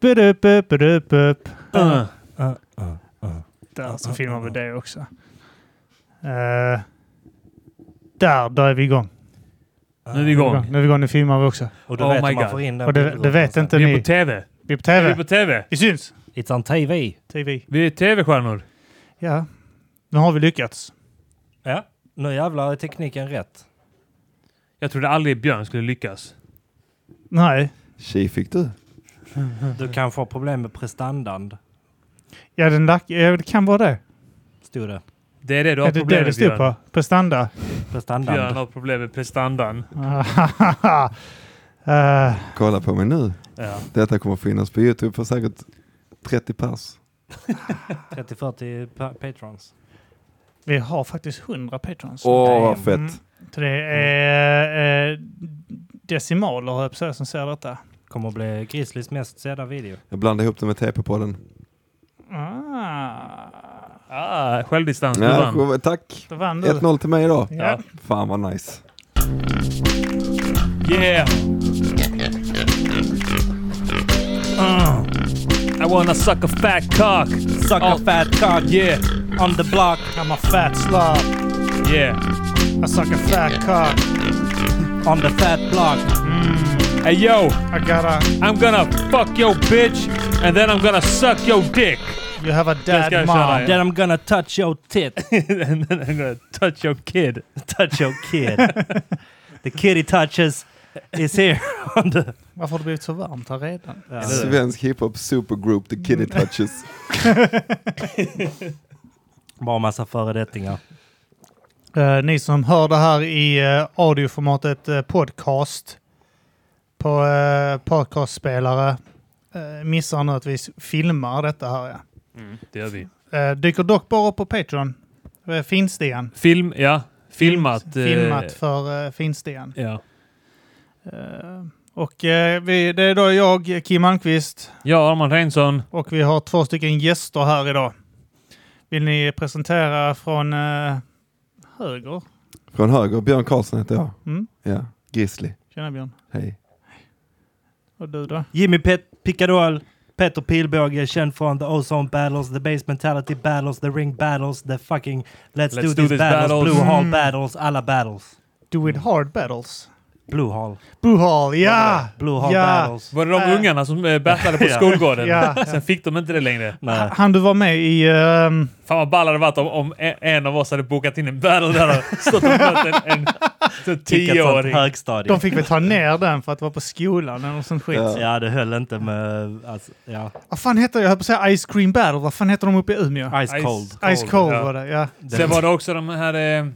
Budup, bup, budup, bup. Uh. Ah. Där så filmar vi det också. Eh, där, där är vi igång. Nu är vi igång. Nu är vi igång, nu filmar vi också. Och du Oh vet my hur man God. får in den Och det, bilden det vet någonstans. inte Vi är på ni. tv. Vi är på Vi är TV. på tv. Vi syns! It's on TV. TV. Vi är tv-stjärnor. Ja. Nu har vi lyckats. Ja. Nu jävlar är tekniken rätt. Jag trodde aldrig Björn skulle lyckas. Nej. Tji fick du. Du kanske har problem med prestandan, Ja, den lack... ja, det kan vara det. stod det. Det är det du har Är det problem det med det stod Björn. på? Prestanda? Prestandan. Björn har problem med prestandan. Eh, Kolla på mig nu. Ja. Detta kommer finnas på Youtube för säkert 30 pers. 30-40 pa- patrons. vi har faktiskt 100 patrons. Åh, vad damn. fett. Mm. Så det är eh, decimaler, höll jag på att säga, som ser detta. Kommer att bli Grizzlys mest sedda video. Jag blandade ihop det med TP-podden. Ah. Ah, självdistans. Du Ja, vann. sjö- tack! Då vann du. 1-0 till mig idag. Ja. Fan vad nice. Yeah! Uh. I wanna suck a fat cock. Suck a fat cock Yeah, on the block. I'm a fat slob. yeah. I suck a fat cock. On the fat block. Hey yo, I gotta... I'm gonna fuck your bitch and then I'm gonna suck your dick. You have a Jag ska dad köra, mom. ja. Then I'm gonna touch your tit. and then I'm gonna touch your kid. touch your kid. the kid he touches is here on the... Varför har det blivit så varmt här redan? Ja. Svensk hiphop supergroup, The Kitty Touches. Bara massa föredettingar. Eh, ni som hör det här i eh, audioformatet eh, podcast på eh, podcastspelare eh, missar nu att vi s- filmar detta här. Ja. Mm. Det gör vi. Eh, dyker dock bara upp på Patreon. Eh, Finstian. Film, ja. Filmat. eh, Filmat för eh, Finstian. Ja. Eh, och eh, vi, det är då jag, Kim Almqvist, ja, Arman Reinsson. och vi har två stycken gäster här idag. Vill ni presentera från eh, höger? Från höger, Björn Karlsson heter jag. Mm. Ja, Grizzly. Tjena Björn. Hej. Och du då? Jimmy Pet Picadoll, Peter Pilbåge, känd från The Ozone Battles, The Base Mentality Battles, The Ring Battles, The fucking Let's, do, This, battles, Blue Mm. Hall Battles, alla battles. Do it hard battles. Blue Hall. Buhal, ja! Blue Hall Ja. Battles. Var det de Äh. ungarna som eh, battlade på Ja. skolgården? Ja. Sen fick de inte det längre. Nej. Han du var med i... ehm, Fan vad ball det hade varit om, om e- en av oss hade bokat in en battle där och stått och mött en, en, en tioåring. Högstadie. de fick väl ta ner den för att vara på skolan eller något sånt skit. Ja. Ja, det höll inte med... Alltså, ja. Vad fan heter det? Jag höll på att säga Ice Cream Battle. Vad fan heter de uppe i Umeå? Ice Cold. Ice Cold ja. var det, ja. Sen var det också de här... Eh,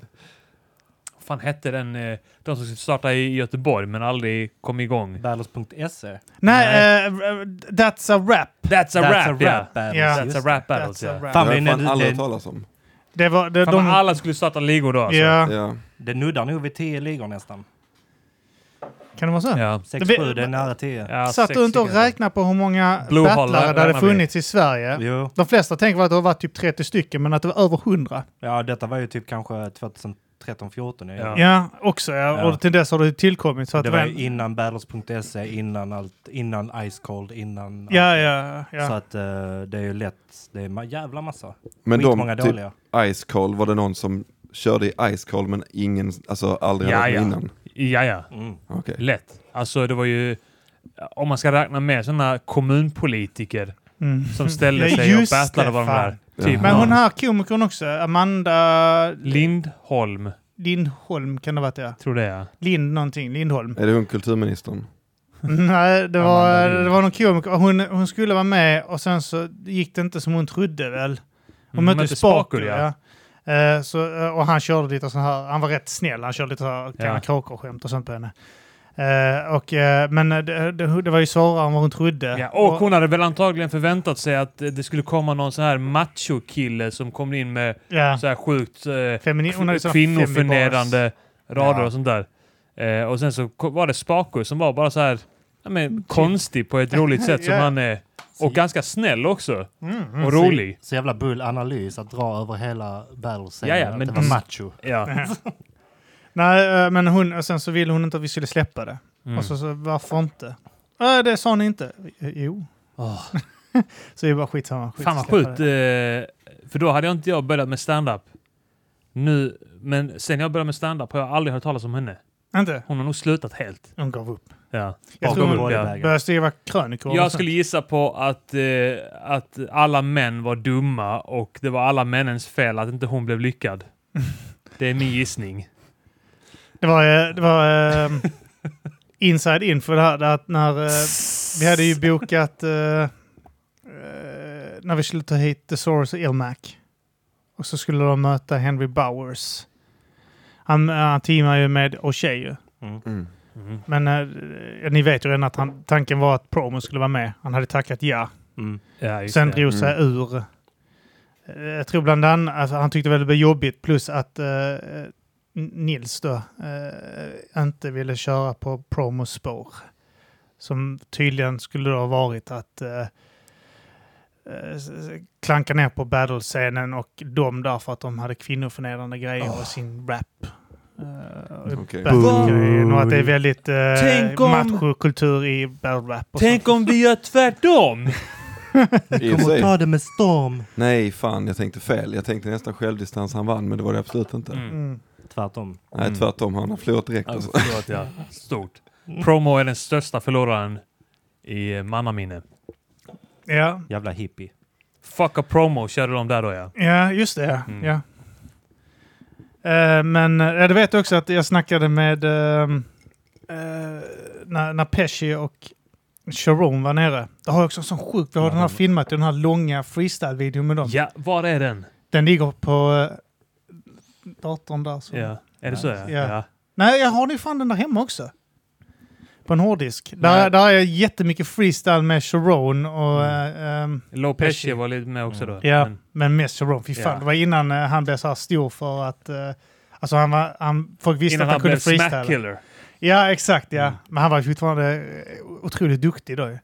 vad fan hette den? Eh, de som skulle starta i Göteborg men aldrig kom igång. Battles.se. Nej, Nej. eh, That's a Rap. That's a E. That's rap, a ja. rap battles. Ja. That's just a det. rap battles, That's ja. a rap. Det Fan, har men jag fan det, aldrig det, hört talas om. Det var... Det, Fan, de, men alla skulle starta ligor då alltså. ja. Ja. det nuddar nog vid 10 ligor nästan. Kan det vara så? Ja. 6-7, det är nära 10. Ja, Satt sex du inte och stycken. räknade på hur många Blue battlare Hollow, det hade räknar vi. funnits i Sverige? Jo. De flesta tänker väl att det har varit typ 30 stycken, men att det var över 100. Ja, detta var ju typ kanske 2013-14. Ja. Ja, också ja. Ja. Och till dess har det tillkommit. Så att Det var en- ju innan Battles.se, E, innan allt, innan Ice Cold, innan... Ja, allt. ja, ja. Så att eh, det är ju lätt, det är ma- jävla massa. Men Skitmånga de, de, typ dåliga. Ice Call, var det någon som körde i Ice Call men ingen, alltså aldrig Ja, hade ja. hört innan? Ja, ja. Mm. Okej. Lätt. Alltså det var ju... Om man ska räkna med sådana kommunpolitiker Mm. som ställde Ja, sig och just battlade det, vad de fan. där. Typ Men hon någon. här komikern också, Amanda Lindholm, Lindholm kan det ha varit ja. tror det är. Mm, Lind någonting, Lindholm. Mm, Är det hon kulturministern? Nej, det var, Amanda Lind. det var någon komiker. Hon, hon skulle vara med och sen så gick det inte som hon trodde väl. Hon Mm, mötte mötte Spakel Spakel, ja. Eh, så, eh, och han körde lite sån här, han var rätt snäll, han körde lite så här ja. Ja. kråkor-skämt och sånt på henne. Eh, och, eh, men eh, det, det, det var ju svårare än vad hon trodde. Ja, och hon hade väl antagligen förväntat sig att eh, det skulle komma någon sån här macho-kille som kom in med ja. så här sjukt eh, Femini- hon hade såna kvinnoförnedrande rader Ja. och sånt där. Eh, och sen så ko- var det Spaku som var bara så här ja, men, konstig på ett roligt sätt som Mm, typ. Ja. han är. Och ganska snäll också. Mm, och rolig. Så jävla bull analys att dra över hela battles Ja, ja, att men det var du- macho. Ja. Mm. Nej, eh, men hon, och sen så ville hon inte att vi skulle släppa det. Mm. Och så, så varför inte? Äh, det sa ni inte. Eh, Jo. Åh, Så det är bara skitsamma. Skit fan vad att släppa sjukt. det. eh, För då hade jag inte jag börjat med stand-up. Nu, men sen jag började med stand-up har jag aldrig hört talas om henne. Inte? Hon har nog slutat helt. Hon gav upp. Ja. Jag Bakom tror upp, hon ja. bodybagen. började skriva krönikor. och Jag sånt. skulle gissa på att, eh, att alla män var dumma och det var alla männens fel att inte hon blev lyckad. Det är min gissning. Det var, eh, det var eh, inside info det här. där Att när, eh, vi hade Mm. ju bokat eh, eh, när vi skulle ta hit The Source och Ilmac. Och så skulle de möta Henry Bowers. Han, eh, han teamar ju med O'Shea ju. Mm. Mm. Men eh, ni vet ju redan att han, tanken var att Promo skulle vara med. Han hade tackat ja. Mm. Ja, just Sen det. drog sig ur. Eh, Jag tror bland annat alltså, han tyckte väl det blev jobbigt plus att eh, N- Nils då eh, inte ville köra på promospår. Som tydligen skulle då ha varit att eh, eh, s- s- klanka ner på battle-scenen och dem där för att de hade kvinnoförnedrande grejer Ah. och sin rap. Eh, och Okej. battle-grejen och att det är väldigt Mm. Tänk eh, om- machokultur i battle-rap. och sånt. Tänk om vi gör tvärtom! Mm. I och för Kommer att sig. ta det med storm. Nej, fan jag tänkte fel. Jag tänkte nästan självdistans han vann, men det var det absolut inte. Mm. Mm. Tvärtom. Nej, Mm. tvärtom. Han har förlorat direkt. Ja, Alltså. förlåt, ja. Stort. Promo är den största förloraren i eh, mannaminne. Ja, Jävla hippie. Fuck a promo körde de där då ja. Ja, just det. Mm. Ja. Eh, men eh, du vet också att jag snackade med ehm, eh, när, när Pesci och Sharon var nere. Det har jag också en sån sjuk... Vi har den här filmat i den här långa freestyle-videon med dem. Ja, var är den? Den ligger på eh, datorn där. Så. Ja. Är det så ja? Ja. ja. Nej, jag har nu fan den där hemma också. På en hårddisk. Där, Nej. där är jättemycket freestyle med Sharon och... Mm. eh, ehm, Low Pesci. Pesci var lite med också då. Ja, Men, men mest Sharon. Fy fan, Ja. det var innan eh, han blev så här stor för att... Eh, alltså han var... Han, folk visste innan att han, han blev kunde freestyla. smackkiller. Ja, exakt ja. Mm. Men han var ju fortfarande eh, otroligt duktig då ju.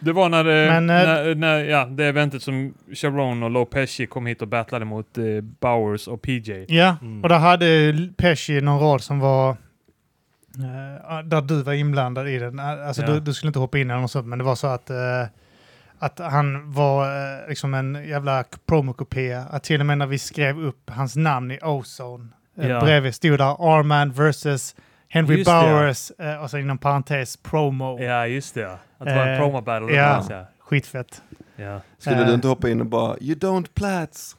Det var när, eh, Men, eh, när, när ja, det eventet som Sharon och Low Pesci kom hit och battlade mot eh, Bowers och PJ. Ja, Mm. och där hade ju Pesci någon rad som var... eh, där du var inblandad i den. Alltså Ja. du, du skulle inte hoppa in eller något sånt, men det var så att... eh, att han var eh, liksom en jävla k- promokopia. Att till och med när vi skrev upp hans namn i Ozone eh, Ja. bredvid stod där Arman versus Henry Just det, ja. Bowers eh, och sen inom parentes promo. Ja, just det. ja. Att det var en Eh, promo battle. alltså, ja. Ja. Ja. Skitfett. Ja. Skulle Eh. du inte hoppa in och bara “You don't plats”?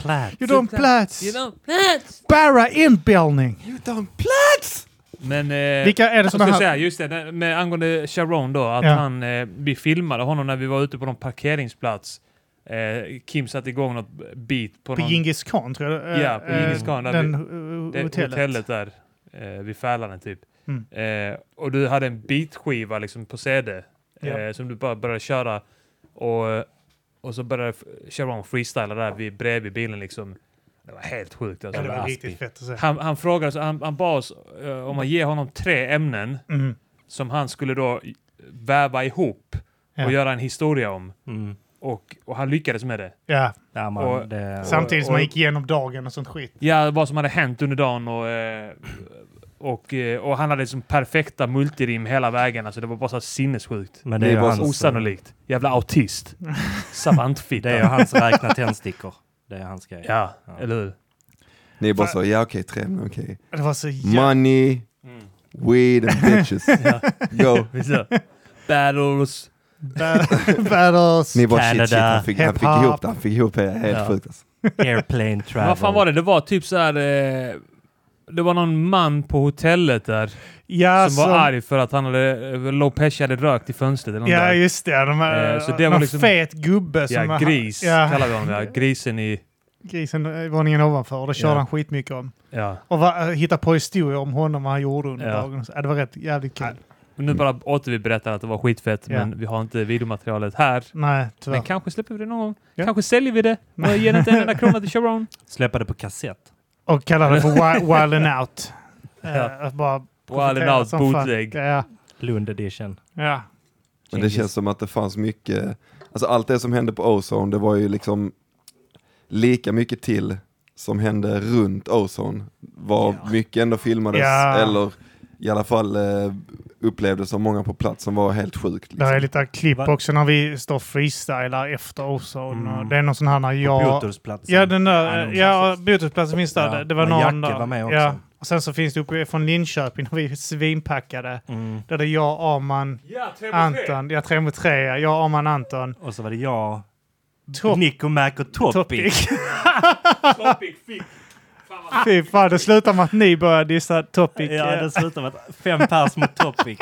plat. You don't plats! plats! Bara inbillning! You don't plats! Men... Eh, Vilka är det som jag är ska här? säga, just det, när- med, angående Sharon då, att Ja. han, eh, vi filmade honom när vi var ute på någon parkeringsplats. Eh, Kim satte igång något beat på, På någon, Djingis Khan tror jag. eh, Ja, på Djingis Khan, där eh, Den vi- eh, det, hotellet. hotellet. där eh, vid Fälaren typ. Mm. Eh, och du hade en beatskiva liksom på CD eh, Ja. som du bara började köra och, och så började f- Sharon freestyla där vid, bredvid bilen liksom. Det var helt sjukt. Ja, Alltså. det var Aspi. riktigt fett att se. han, han frågade, så han, han bad oss eh, om att ge honom tre ämnen Mm. som han skulle då i- väva ihop Ja. och göra en historia om. Mm. Och, och han lyckades med det. Ja, Ja, man, Och- det... samtidigt som och- man gick igenom dagen och sånt skit. Ja, vad som hade hänt under dagen och, eh, och, eh, och han hade liksom perfekta multirim hela vägen. Alltså det var bara så här sinnessjukt. Men Det det är är ju bara Alltså. hans, Osannolikt. Jävla autist. Savantfitta. Det är ju hans räkna tändstickor. Det är hans grej. Ja, Ja. eller hur? Ni är bara så “Ja okej, tre men okej”. Det var så jävla... Money, Mm. weed and bitches. Ja. Yo. Visst är det? Battles. Badass. Ni bara shit, shit, han Canada, fick, han fick hip-hop. ihop det, han fick ihop det, helt Ja. sjukt alltså. Airplane travel. Vad fan var det? Det var typ så här... Eh, det var någon man på hotellet där Ja, som var arg för att han hade, eh, Lopesh hade rökt i fönstret. Eller någon Ja, där. just det. De här, Eh, så det var någon liksom- fet gubbe som... Ja, var- gris Ja, kallar vi honom. Ja, grisen i... grisen i våningen ovanför. Och det körde Ja. han skitmycket om. Ja. Och va, hitta på historier om honom vad han gjorde under Ja. dagen. Så, ja, det var rätt jävligt kul. Nej, Men nu bara åter vi berättar att det var skitfett, Mm. Ja. men vi har inte videomaterialet här. tyvärr. Men kanske släpper vi det någon gång. Ja. Kanske säljer vi det och ger inte en enda krona till Sharon. Släppa det på kassett. Och kallade det för wi- Wild and Out. Eh, Ja. att bara Wild and out som fan. bootleg. Ja. Lund edition. ja. Men det känns som att det fanns mycket, alltså allt det som hände på Ozone, det var ju liksom lika mycket till som hände runt Ozone. Var mycket ändå filmades, Ja. eller i alla fall eh, upplevdes som många på plats som var helt sjukt. Där Liksom. är lite klipp Va? också när vi står och freestylar efter Ozone. Mm. Och det är någon sån här när jag... Biotursplatsen. Ja, den Ja, där, den ja, klassiska. bytesplatsen finns där. Ja, Det- det var men någon Jacke där. var med också. Ja. Och sen så finns det uppe från Linköping, när vi är svinpackade. Mm. Där det är jag, Arman, Ja, tre Anton. Ja, tre mot tre. ja. Jag, Arman, Anton. Och så var det jag, Top- Nico Mac och Topic. Topic. Fy fan, det slutar med att ni börjar dissa Topic. Ja, Ja, det slutade med att fem pers mot Topic.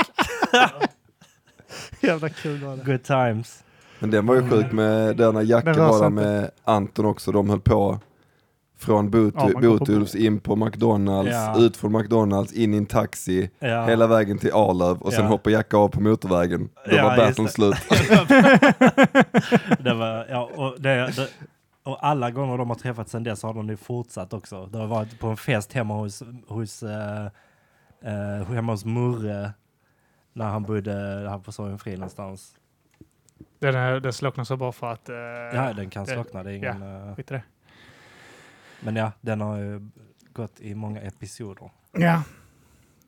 Jävla kul var det. Good times. Men den var ju sjuk med den här Jacke Den rör var sig där inte. med Anton också. De höll på från Botu- Ja, man går på- Botulfs in på McDonalds, Ja. ut från McDonalds, in i en taxi, Ja. hela vägen till Arlöv och sen Ja. hoppar Jacke av på motorvägen. Då Ja, var just battlen det. slut. det var, ja, och, det, det, och alla gånger de har träffats sedan dess har de ju fortsatt också. Det har varit på en fest hemma hos, hos, eh, eh, hemma hos Murre när han bodde här på Sorgenfri någonstans. Den, är- den slocknar så bara för att... eh, Ja, den kan det- slockna. Det är ingen, eh, Skit i det. men ja, den har ju gått i många episoder. Ja.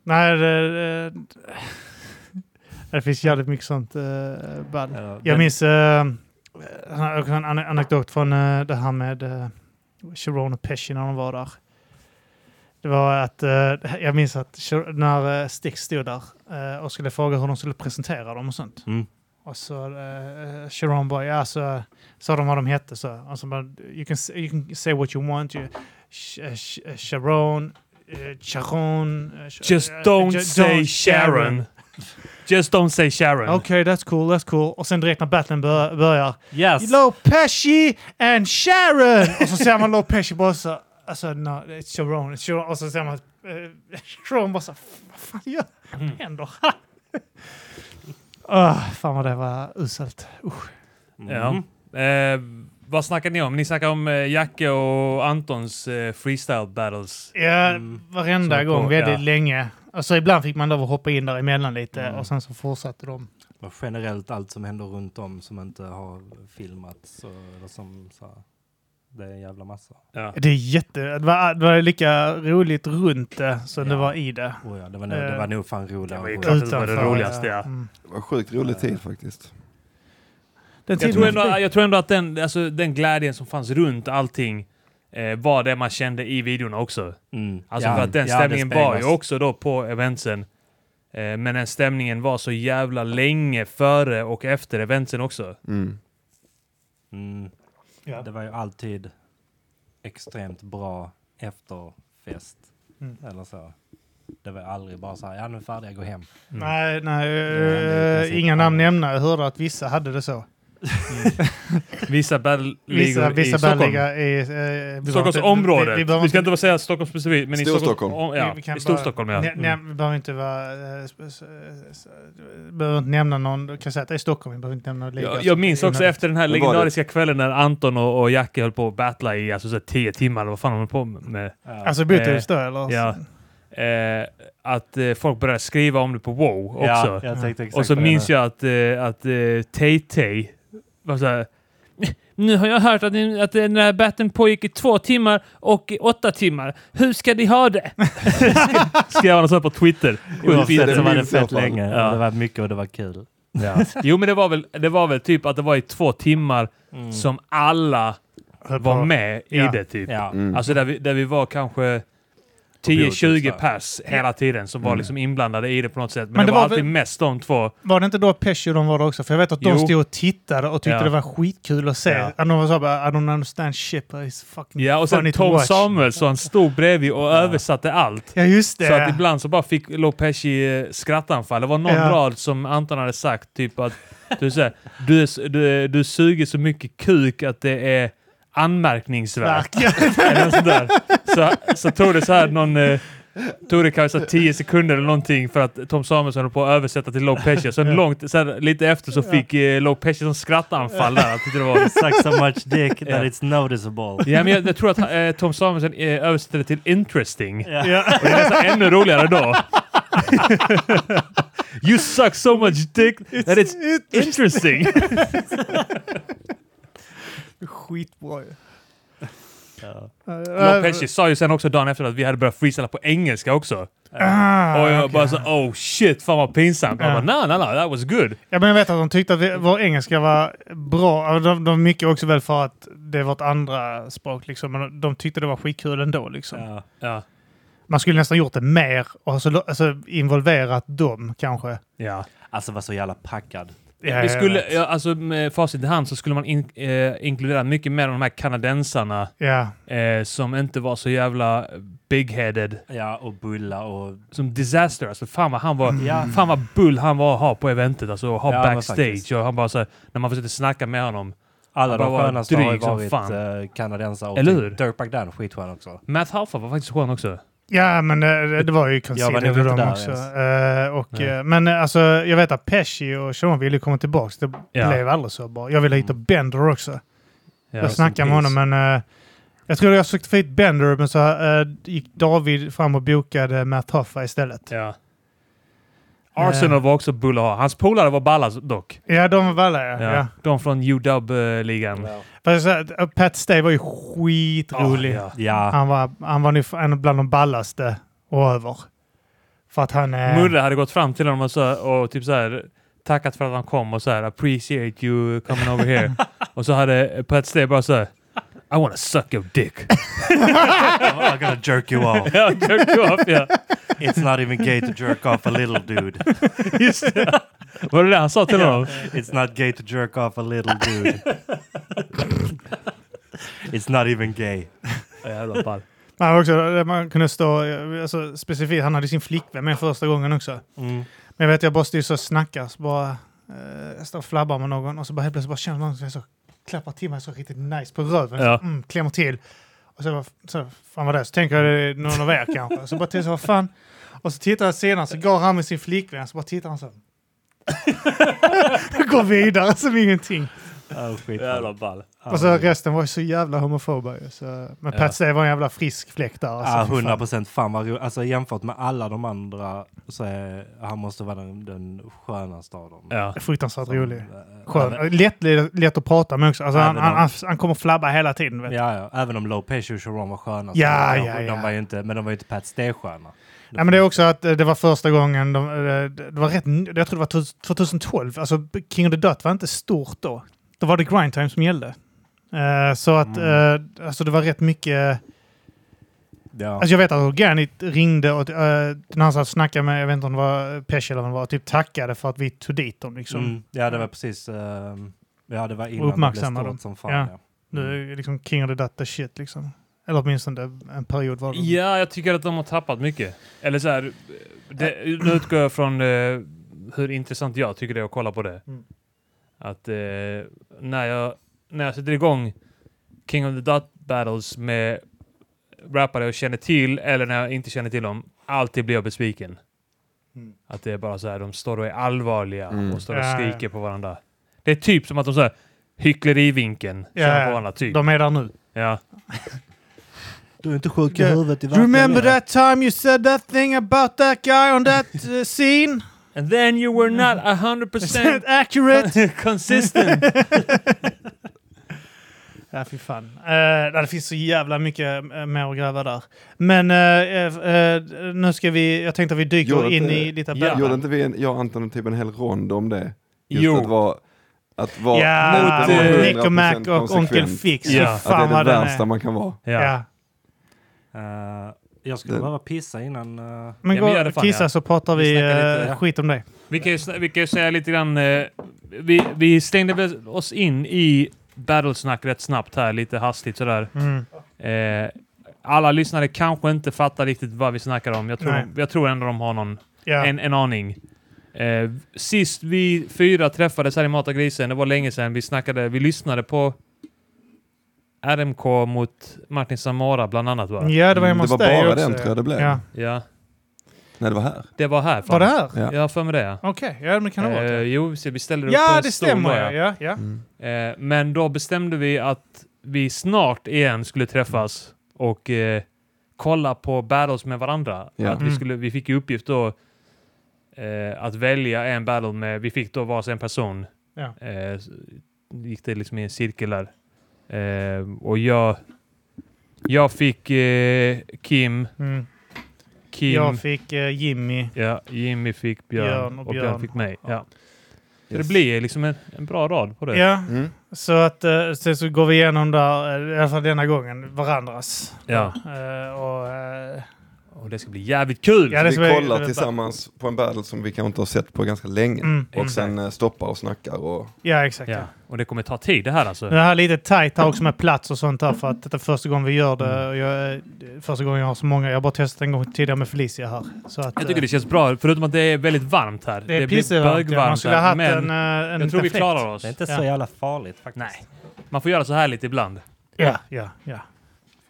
Nej, det, det, det finns jävligt mycket sånt uh, ball. Ja, Jag men- minns eh, han har också en an- anekdot från eh, det här med eh, Sharon och Pesci när de var där. Det var att eh, jag minns att Sha- när eh, Stix stod där eh, och skulle fråga hur de skulle presentera dem och sånt. Mm. Och så eh, Sharon bara, ja så sa de vad de hette så. Och så bara, you can, say- you can say what you want. You, sh, eh, sh, eh, Sharon, eh, Sharon. eh, sh- Just eh, don't ju- say Sharon. Just don't say Sharon. Okej, that's cool, that's cool. Och sen direkt när battlen bör, börjar. Yes! Lopeshi and Sharon! Och så ser man Lopeshi bara så, alltså no, it's Sharon, it's Sharon. Och så ser man eh, Sharon bara så, vad fan gör, Mm. vad händer? Ah, fan vad det var uselt. Ja. Eh, vad snackar ni om? Ni snackar om eh, Jacke och Antons eh, freestyle battles. Ja, Mm. varenda Så på- gång, väldigt ja. Mm. länge. Alltså ibland fick man lov att hoppa in däremellan lite och sen så fortsatte de. Och generellt allt som händer runt om som inte har filmats. Och, eller som, så, här, det är en jävla massa. Ja. Det är jätte... Det var, det var lika roligt runt det som det Ja. var i det. Oh ja, det, var nog, det Eh, var nog fan roligare. det var ju och klart. roligare. det var det roligaste, ja. Mm. Det var sjukt rolig tid faktiskt. Den Jag tiden tror, var ändå, förbi. jag tror ändå att den, alltså, den glädjen som fanns runt allting eh, var det man kände i videorna också. Mm. Alltså Ja, för att den ja, det stämningen var ju speglas. också då på eventsen. Eh, men den stämningen var så jävla länge före och efter eventsen också. Mm. Mm. Ja. Det var ju alltid extremt bra efterfest. Mm. Eller så. Det var aldrig bara så här, ja nu är vi färdiga, gå hem. Mm. Nej, nej. är i eh, princip inga alla. namn nämna. Jag hörde att vissa hade det så. Vissa Vissa, battleligor i vissa Stockholm. bälliga i... Eh, vi behöver Stockholms inte- område. Vi, Vi, vi behöver inte... ska inte bara säga Stockholm specifikt, men i Storstockholm. Stockholm. ja, Vi- vi kan I Storstockholm ja. Mm. Nä, nä, vi behöver inte vara... eh, sp- s- s- behöver inte nämna någon. Du kan säga att det är Stockholm. Vi behöver inte nämna liga. Jag, jag minns också efter den här Men var det- legendariska kvällen när Anton och, och Jackie höll på att battla i alltså, så här, tio timmar eller vad fan de höll på med. Ja. Alltså Botus då eller? Ja. Eh, att eh, folk började skriva om det på wow också. Ja, jag tänkte exakt och så på det minns nu. jag att, eh, att eh, Tay-Tay var så här. Nu har jag hört att, ni, att den här batten pågick i två timmar och i åtta timmar. Hur ska ni ha det? Skrev han så på Twitter. Oavsett så var det minns jag fett fan. länge. Ja. Mm. Det var mycket och det var kul. Jo, men det var, väl, det var väl typ att det var i två timmar Mm. som alla var med i Ja. det typ. Ja. Mm. Alltså där vi, där vi var kanske Biotis, 10-20 där. pers hela tiden som var liksom inblandade i det på något sätt. Men, Men det det var var alltid väl- mest de två. Var det inte då Pesci och de var där också? För jag vet att de Jo. stod och tittade och tyckte Ja. det var skitkul att se. Ja. Ja. De var så bara, I don't understand shit but it's fucking Ja, och sen funny to Tom watch." Samuelsson stod bredvid och översatte allt. Ja, just det. Så att ibland så bara fick Lopeshi eh, skrattanfall. Det var någon Ja. rad som Anton hade sagt, typ att du, så här, du, är s- du, du suger så mycket kuk att det är anmärkningsvärt. Verkligen. Eller något sånt där. Så, så tog det så här någon... Eh, tog det kanske så här 10 sekunder eller någonting för att Tom Samuelsson höll på att översätta till Love Pesci. Sen långt, så här, lite efter så fick eh, Love Pesci sån skrattanfall där. Jag tyckte det var... Suck so much dick that Ja. it's noticeable. Ja, men jag, jag tror att eh, Tom Samuelsson eh, översatte det till interesting. ja. Och det är nästan ännu roligare då. you suck so much dick that it's interesting. Skitbra ju. Ja. Eh, Love Pesci sa ju sen också dagen efter att vi hade börjat freestyla på engelska också. Ah, och jag okej. bara så oh shit, fan vad pinsamt. Ja. Jag bara, nej, nej, nej, that was good. Ja, men jag vet att de tyckte att vi, vår engelska var bra. Ja, De, de mycket också väl för att det är vårt andra språk liksom. Men de- de tyckte det var skitkul ändå liksom. Ja. Ja. Man skulle nästan gjort det mer och så, alltså, involverat dem kanske. Ja. Alltså var så jävla packad. Ja, Vi jag skulle, vet. ja, alltså med facit i hand så skulle man in, eh, inkludera mycket mer av de här kanadensarna Ja. eh, som inte var så jävla big-headed. Ja, och bulla och... Som disaster, alltså fan vad han var, Mm. Ja. fan vad bull han var att ha på eventet, alltså att ha Ja, men faktiskt. backstage. Och han bara så här, när man försökte snacka med honom. Alla Han bara de var skönaste har ju dryg som varit fan. eh, kanadensare och Eller typ hur? Dirtbag Dan, skitskön också. Matt Halfa var faktiskt skön också. ja, men det, det- det var ju Jag var nog considered inte dem där också. ens. Eh, och, Nej. eh, men eh, alltså, jag vet att Pesci och Sean ville komma tillbaks Det Ja. blev aldrig så bra. Jag ville hitta Bender också. Ja. jag snackade med rest in honom, men eh, jag tror jag försökte få hit Bender, men så eh, gick David fram och bokade Matt Hoffa istället. Ja. Eh. Arsenal var också bull att ha. Hans polare var balla dock. Ja, de var balla ja. ja. De från UW-ligan. Fast jag sa, att Pat Stay var ju skitrolig. Ja. Ja, Han var, han var nu en bland de ballaste och över. För att han eh, är... Murre hade gått fram till honom och, så här, och typ så här, tackat för att han kom och så här “appreciate you coming over here” och så hade Pat Stay bara så här “I wanna suck your dick”. I'm gonna jerk you off. ja, jerked you off, ja. It's not even gay to jerk off a little dude. Just det. Var det det han sa till honom? It's not gay to jerk off a little dude. It's not even gay. Ja, jävla ball. Man, var också, man kunde stå... eh, Alltså, specifikt, han hade sin flickvän med första gången också. Mm. Men jag vet, jag bara stod så och snackade, så bara... eh, Jag står och flabbar med någon och så bara helt plötsligt bara känner man att jag så klappar till mig så riktigt nice på röven. Ja. Så, mm, klämmer till. Och så, bara, så fan vad det är. Så tänker jag det är någon av er kanske. Så bara till så vad fan. Och så tittar jag senare så går han med sin flickvän så bara tittar han så. går vidare som ingenting. Oh, skit. Jävla ball. Ja, Och så resten var ju så jävla homofoba ju. Så, men Ja. Pat Stay var en jävla frisk fläkt där. Alltså, Ja, fy fan. 100 procent. Fan vad roligt. Alltså jämfört med alla de andra så är han måste vara den, den skönaste av dem. Ja. Fruktansvärt Som, rolig. eh, även- Skön. Lätt, lätt att prata med också. Alltså, han, Även han, om- han, han kommer flabba hela tiden. Vet du. Ja, ja, även om Lopez och Sharon var sköna. så Ja, de, ja, de ja. Var ju inte, men de var ju inte Pat Stay-sköna. Nej, men det är också att eh, det var första gången, de, eh, det var rätt, ny- jag tror det var tus- 2012, alltså King of the Dot var inte stort då. Då var det Grindtime som gällde. Eh, så att Mm. eh, alltså det var rätt mycket, Ja. alltså jag vet att Organic ringde och eh, den han satt och snackade med, jag vet inte om det var Pesci eller vad det var, typ tackade för att vi tog dit dem liksom. Mm. ja, det var precis... ehm, ja, det var innan det blev Uppmärksamma dem. stort som fan. Ja. Ja. Nu är liksom King of the Dot the shit liksom. Eller åtminstone en period var det. Ja, jag tycker att de har tappat mycket. Eller så här, det, nu utgår jag från eh, hur intressant jag tycker det är att kolla på det. Mm. Att eh, när, jag, när jag sätter igång King of the Dot Battles med rappare jag känner till eller när jag inte känner till dem, alltid blir jag besviken. Mm. Att det är bara så här, de står och är allvarliga Mm. och står och Ja, ja. skriker på varandra. Det är typ som att de så här, hycklerivinkeln, Ja, känner ja. på varandra, typ. De är där nu. Ja. Du är inte sjuk i Det- huvudet i Do you remember that time you said that thing about that guy on that uh, scene? And then you were not 100% accurate? consistent. Ja, fy fan. Eh, nej, det finns så jävla mycket eh, mer att gräva där. Men eh, eh, nu ska vi, jag tänkte att vi dyker Gjorde in inte- i lite Ja. bättre. Gjorde inte vi en, jag och Anton typ en hel rond om det? Just Jo. att vara... Att vara Ja, alltså, mot, eh, Nick och Mac 100% och Onkel konsekvent. Fix. Ja. Ja. Att Att det Fan är vad det den värsta är. man kan vara. Ja. Ja. Ja. Eh, jag skulle Det- behöva pissa innan... eh, Men Ja, gå men gör det och fan, kissa ja. så pratar Vi vi, snackar eh, lite, ja. skit om dig. Vi, kan ju, sn- vi kan ju säga lite grann... Eh, vi, vi stängde väl oss in i battlesnack rätt snabbt här, lite hastigt sådär. Mm. Eh, alla lyssnare kanske inte fattar riktigt vad vi snackar om. Jag Nej. tror, jag tror ändå de har någon, Ja. en, en aning. Eh, sist vi fyra träffades här i Mata Grisen, det var länge sedan, vi snackade, vi lyssnade på RMK mot Martin Samara bland annat va? ja, det var hemma Mm, det hos var dig bara också. den tror jag det blev. Ja. Ja. Nej, det var här. Det var här. fan. Var det här? Ja. Jag har för mig det ja. Okej, ja men det kan det vara. Eh, jo, så vi ställde upp på Ja, en det stol stämmer. då, Ja. Ja, ja. Mm. Eh, men då bestämde vi att vi snart igen skulle träffas och eh, kolla på battles med varandra. Ja. Att vi, Mm. skulle, vi fick ju uppgift då eh, att välja en battle med, vi fick då varsin person. Ja. Eh, s- gick det liksom i en cirkel där. Eh, och jag, jag fick eh, Kim, Mm. Kim. Jag fick eh, Jimmy. Ja, Jimmy fick Björn, Björn och och, Björn. Björn. fick mig. Ja. Så Yes. det blir liksom en, en bra rad på det. Ja, Mm. så att eh, sen så går vi igenom där, eh, i alla fall denna gången, varandras. Ja. Eh, och, eh, Och det ska bli jävligt kul! Ja, det vi som är- kollar tillsammans på en battle som vi kanske inte har sett på ganska länge. mm, Mm. Och sen eh, stoppar och snackar och ja, exakt. Ja. Och det kommer ta tid det här alltså. Det här är lite tajt här också med plats och sånt här för att detta är första gången vi gör Mm. det. Och jag, eh, första gången jag har så många. Jag har bara testat en gång tidigare med Felicia här. Så att, Jag tycker eh, det känns bra, förutom att det är väldigt varmt här. det är blir pissvarmt. Ja. Man bögvarmt skulle ha här, haft en, men eh, en jag tror vi perfekt. klarar oss. Det är inte Ja. så jävla farligt faktiskt. Nej. Man får göra så här lite ibland. Ja, ja, ja.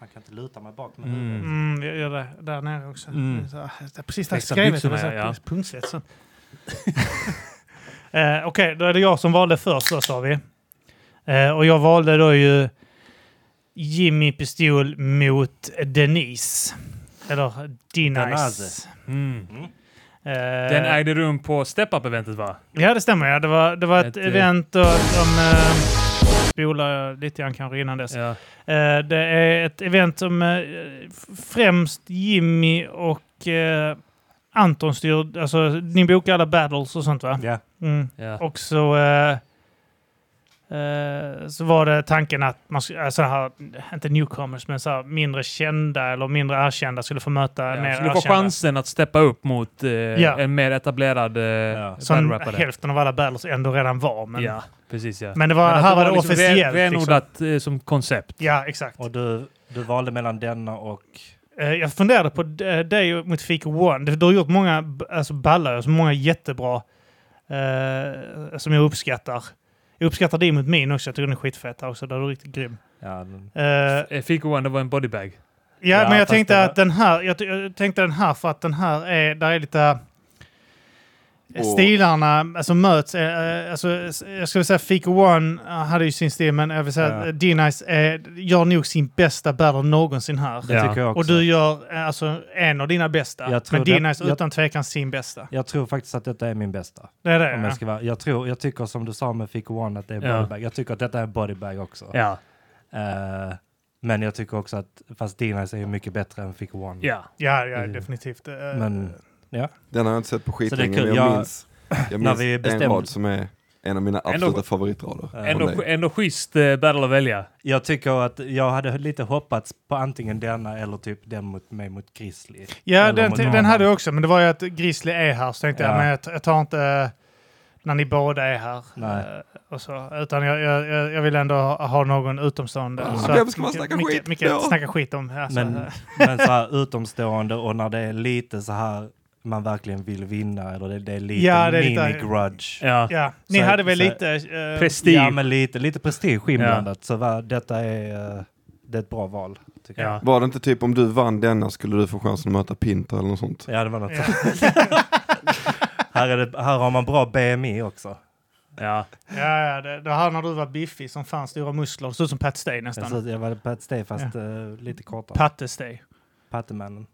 Fan, kan inte luta mig bak med Mm. huvudet. Mm, jag gör det där nere också. Mm. Så, det är precis där jag Växa skrivet. byxorna, ja. Ja. Punktsätt sen. eh, Okej, då är det jag som valde först då, sa vi. Eh, och jag valde då ju Jimmy Pistol mot Denise. Eller Denise. Denise. Mm. Eh, Den ägde rum på step-up-eventet va? Ja, det stämmer. Ja. Det, var, det var ett, Ett, eh, event och de... Eh, spolar jag lite grann kanske innan dess. Ja. Eh, det är ett event som eh, f- främst Jimmy och eh, Anton styr. Alltså, ni bokar alla battles och sånt va? Ja. Mm. Ja. Och så, eh, eh, så var det tanken att man skulle, alltså här, inte newcomers, men så här, mindre kända eller mindre erkända skulle få möta mer Ja. Så du erkända. får chansen att steppa upp mot eh, Ja. en mer etablerad eh, Som battle-rappare. hälften av alla battles ändå redan var. Men, Ja, precis ja. men det var, Men att här var det liksom ren- officiellt. liksom. Renodlat eh, som koncept. Ja, exakt. Och du, du valde mellan denna och... Eh, Jag funderade på d- dig mot Fika One. Du du har gjort många b- alltså ballar, alltså många jättebra eh, som jag uppskattar. Jag uppskattar dig mot min också. Jag tycker den är skitfett här också. Där är du riktigt grym. Ja, den- Eh, ja, Eh, Fick One, det var en bodybag. men jag fast tänkte det var- att den här, jag, ty- jag tänkte den här för att den här är, där är lite eh, Åh. Stilarna alltså möts, eh, eh, alltså, s- jag skulle säga Fika One eh, hade ju sin stil, men jag vill säga Ja. att D-Nice eh, gör nog sin bästa battle någonsin här. det Ja. tycker jag också. Och du gör eh, alltså en av dina bästa. Jag tror men din det- är jag- utan tvekan sin bästa. Jag tror faktiskt att detta är min bästa. Det är det. Om ja. jag, ska vara. jag tror, jag tycker som du sa med Fick One att det är Ja. bodybag. Jag tycker att detta är bodybag också. Ja. Mm. Eh, men jag tycker också att, fast Dinas är ju mycket bättre än Fick One. ja. Ja, ja, Mm. definitivt. Eh, Men den har jag inte sett på Så det är skitlänge. kul. Men Jag- jag minns, jag minns vi en bestämde- rad som är en av mina Ändå- absoluta favoritrader. från dig. Ändå, ändå schysst eh, battle att välja. jag tycker att jag hade lite hoppats på antingen denna eller typ den mot mig mot Grizzly. ja, Eller den, mot den någon hade jag annan. också, men det var ju att Grizzly är här så tänkte jag, Ja. men jag, t- jag tar inte eh, när ni båda är här. Nej. Eh, Och så, utan jag, jag, jag- jag vill ändå ha, ha någon utomstående. Ah, så vem att ska man snacka Micke- skit Micke med då? snackar skit om. Alltså, Men- eh, Men så här utomstående och när det är lite så här man verkligen vill vinna eller det, det är lite Ja, det är lite- mini-grudge. Ja. ja, ni Så- hade väl så- lite... eh, Prestige. Ja, men lite, lite prestige inblandat. Så va, detta är, eh, det är ett bra val. Tycker Ja. Var det inte typ om du vann denna skulle du få chansen att möta Pinter eller något sånt? jag. Ja, det var något. ja. Här, är det, här har man bra BMI också. Ja. Ja, ja, det, det här när du var biffig som fanns stora muskler. Såg ut som Pat Stay Jag nästan. sa att jag var Pat Stay fast eh, lite kortare. Patte Stay. Pattemannen.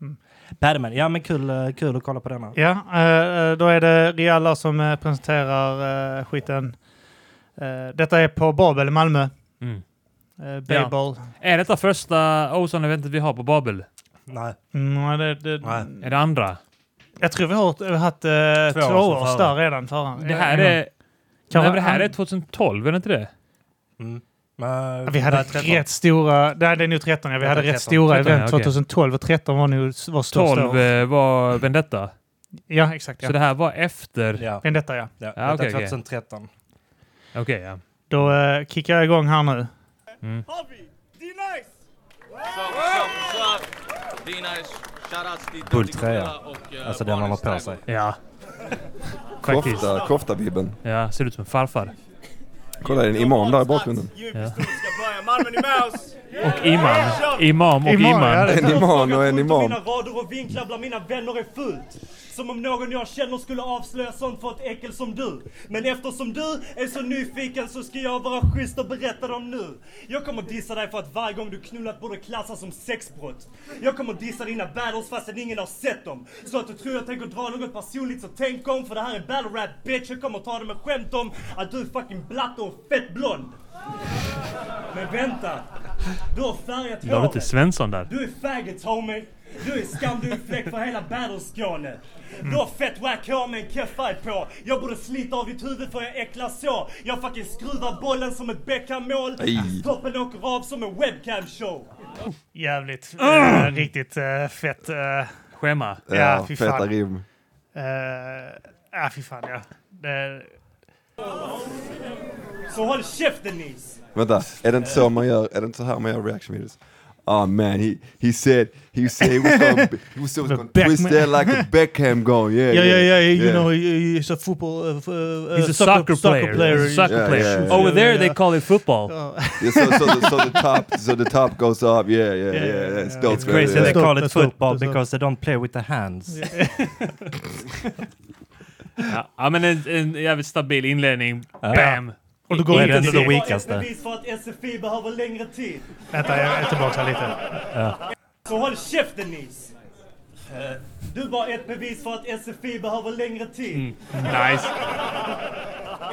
Mm. Paddleman, ja men kul, eh, kul att kolla på denna. Ja, eh, då är det Rialla som eh, presenterar eh, skiten. Eh, Detta är på Babel i Malmö. Mm. Eh, Babel. Är detta första Ozone-eventet vi har på Babel? Nej. Mm, ja, det, det, Nej. Är det andra? jag tror vi har vi har haft eh, Två två, år som års före. där redan förra. Mm. Det här Ja. är... Kan Nej, vara men det här an- är 2012, är det inte det? Mm. Ja, Men, Vi hade Nej, tretton. rätt stora, nej det är nog 13, ja, vi Mm. Ja, hade 13, rätt stora 13, event ja, okej. 2012 och 13 var nog s- var största. 12 eh, var Vendetta. Ja, exakt. Så Ja. det här var efter... Ja, Men detta ja. ja. Ja, Detta okej, är okej. 2013. Okej, ja. Då eh, kickar jag igång här nu. Mm. Bull tröja. eh, Alltså den man har på sig. Ja. Faktiskt. Kofta, koftavibben. Ja, ser ut som en farfar. Kolla det är en imam där i bakgrunden. Och imam. Imam och Imam, imam. ja, det- En imam och en imam. Mina rader och vinklar bland mina vänner är fullt. Som om någon jag känner skulle avslöja sånt för ett äckel som du. Men eftersom du är så nyfiken så ska jag vara schysst och berätta dem nu. Jag kommer dissa dig för att varje gång du knullat borde klassas som sexbrott. Jag kommer dissa dina battles fastän ingen har sett dem. Så att du tror jag tänker dra något personligt så tänk om för det här är battle rap bitch. Jag kommer ta det med skämt om att du är fucking blatte och fett blond. Men vänta. Du har färgat Var det håret. inte Svensson där? Du är faggot homie. Du är skam, du är fläck för hela Battle-Skåne. Du har fett wack hår med en keffaj på. Jag borde slita av ditt huvud för jag äcklas så. Jag fucking skruvar bollen som ett Beckham-mål. Aj. Toppen åker av som en webcam-show. Jävligt. eh, Mm! riktigt eh, fett. eh, Schema. Ja, Ja, fy feta fan. rim. eh, ah, fy fan ja. Det, Så håll käften Nils! Vänta, är det inte så man gör, är det inte så här man gör reaction videos? Oh man, he, he said, he said he was gonna, be- he was gonna Beckman. twist there like a Beckham gone, yeah, yeah, yeah, yeah, yeah, You yeah. know, he- he's a football. Uh, f- uh, He's uh, a soccer, player. He's a Soccer Yeah, player. yeah, yeah. Over there Yeah, they yeah. call it football. Yeah, so, so, the, so the top, so the top goes up, yeah, yeah, yeah, yeah, yeah. it's dope. It's yeah, crazy yeah. they call it That's dope, football that's dope. because they don't play with their hands. Ja, ja, men en, en jävligt stabil inledning. Bam! Och då går I- vi i- till i- det Det var ett Weakaste. bevis för att SFI behöver längre tid. Vänta, jag är tillbaka här lite. Så håll käften Nils! Eh, Du var ett bevis för att SFI behöver längre tid. Nice.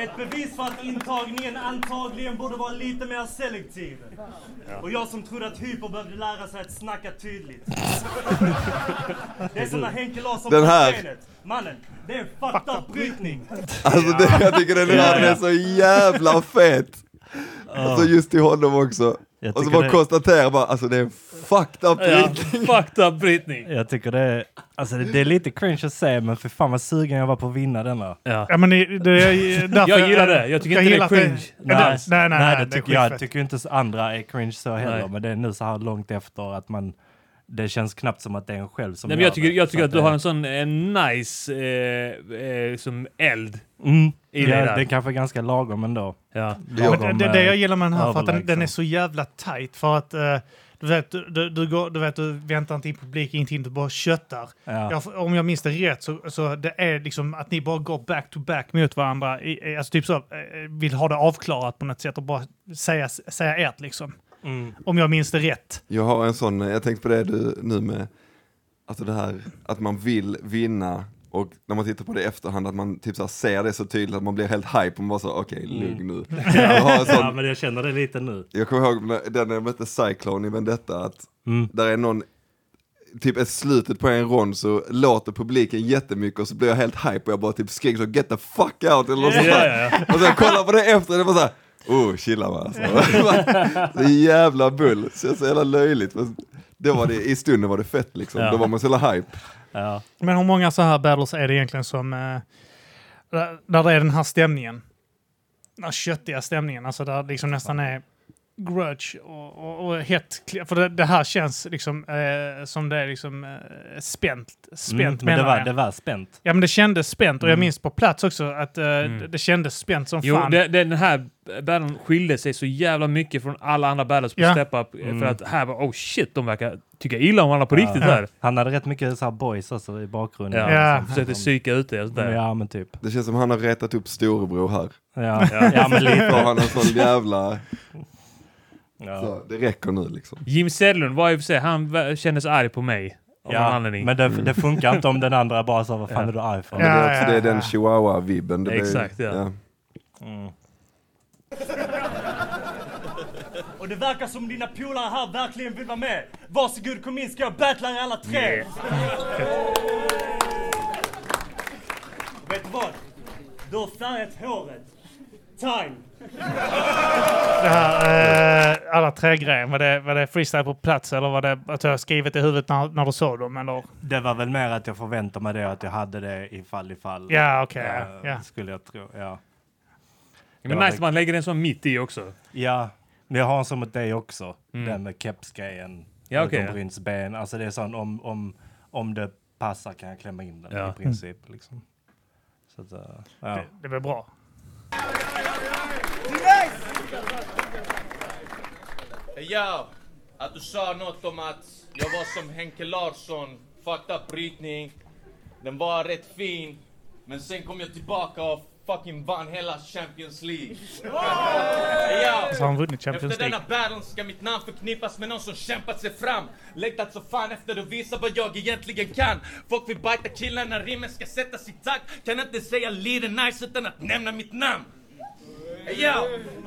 Ett bevis för att intagningen antagligen borde vara lite mer selektiv. Och jag som trodde att hyper behövde lära sig att snacka tydligt. det är som när Henke Larsson Den på här. skenet. Mannen, det är en fucked up brytning. Alltså det, jag tycker den här är så jävla fet! Alltså just till honom också. Jag Och så tycker bara det- konstatera bara, alltså det är en fucked up Ja, ja. fucked up Britney. Jag tycker det är, alltså det, det är lite cringe att säga men för fan vad sugen jag var på att vinna denna. Ja. Ja, men det, det, är därför Jag gillar det. Jag tycker inte gillar det är att cringe. Nej, nej, nej. nej, det det är tycker, jag skitfett. tycker ju inte så andra är cringe så heller Nej. men det är nu så här långt efter att man det känns knappt som att det är en själv som Nej, men gör jag tycker, det. jag tycker Så att du det- har en sån eh, nice eh, eh, som eld mm, i dig ja, det är där. kanske ganska lagom ändå. Ja. Ja, Lagom, men det, det, det eh, jag gillar med den här för att den, överlägsen. den är så jävla tight för att eh, du, vet, du, du, du, går, du vet, du väntar inte in publik, ingenting, du bara köttar. Ja. Jag, om jag minns det rätt så, så det är liksom att ni bara går back to back mot varandra, i, i- alltså typ så, eh, vill ha det avklarat på något sätt och bara säga, säga ert liksom. Mm. Om jag minns det rätt. Jag har en sån, jag tänkte på det du, nu med, alltså det här att man vill vinna och när man tittar på det i efterhand att man typ så här ser det så tydligt att man blir helt hype och man bara så okej Mm. lugn nu. Jag, har en sån, men jag känner det lite nu. jag kommer ihåg när- den när jag mötte Cyclone i Vendetta att Mm. där är någon Typ i slutet på en rond så låter publiken jättemycket och så blir jag helt hype och jag bara typ skriker så get the fuck out eller något sånt Ja, där. ja, ja. Och sen kollar på det efter och det var såhär, oh chilla va. Alltså. det är jävla bull, så jag är så jävla löjligt. Men det var det, I stunden var det fett liksom, Ja. då var man så jävla hype. Ja. Men hur många så här battles är det egentligen som, eh, där, där det är den här stämningen? Den här köttiga stämningen, alltså där liksom nästan är grudge och, och, och hett. kli- För det, det här känns liksom eh, som det är liksom eh, spänt, spänt Mm, men det menar var, jag. det var spänt. Ja men det kändes spänt och jag minns på plats också att eh, det, det kändes spänt som Mm. Jo, fan. det, den här battlen skilde sig så jävla mycket från alla andra battles på Ja. Step Up. eh, För att här var oh shit, de verkar tycka illa om varandra på riktigt här. Han hade rätt mycket så här boys också i bakgrunden. Ja. Ja. Försökte psyka ut det och sådär. ja men typ. Det känns som han har retat upp storebror här. Ja, ja men lite. Då har han en sån jävla, Ja. så, det räcker nu liksom. Jim Sedlund var i och för sig, han vä- kändes arg på mig. Av någon Ja, anledning. men det, det funkar inte om den andra bara sa vad fan är du arg för? Men det, är Ja, också, ja, det är den ja. chihuahua-vibben. Det blir- Exakt, ja. Och det verkar som dina polare här verkligen vill vara med. Varsågod kom in ska jag battla er alla tre. Vet du vad? Du har färgat håret. Time. Det här, eh, alla tre grejer, var det, var det freestyle på plats eller var det att jag skrivit i huvudet när, när du såg dem? Eller? Det var väl mer att jag förväntade mig det och att jag hade det ifall ifall. Ja, okej, ja, Eh, ja. Skulle jag tro, ja. men nice att man lägger en sån mitt i också. Ja, men jag har en sån mot dig också. Den med kepsgrejen. Ja, okej, ja. Med Bryns ben. Alltså det är sån om, om, om det passar kan jag klämma in den Ja. i princip. Liksom. Så att, eh, ja. Det blev bra. Ja, att du sa något om att jag var som Henke Larsson, fucked up brytning. Den var rätt fin, men sen kom jag tillbaka och fucking vann hela Champions League. Ja, Alltså, Så har han vunnit Champions efter League. denna battle ska mitt namn förknippas med någon som kämpat sig fram. Längtat så fan efter att visa vad jag egentligen kan. Folk vill bajta killar när rimmen ska sättas i takt. Kan inte säga lite nice utan att nämna mitt namn. Ja,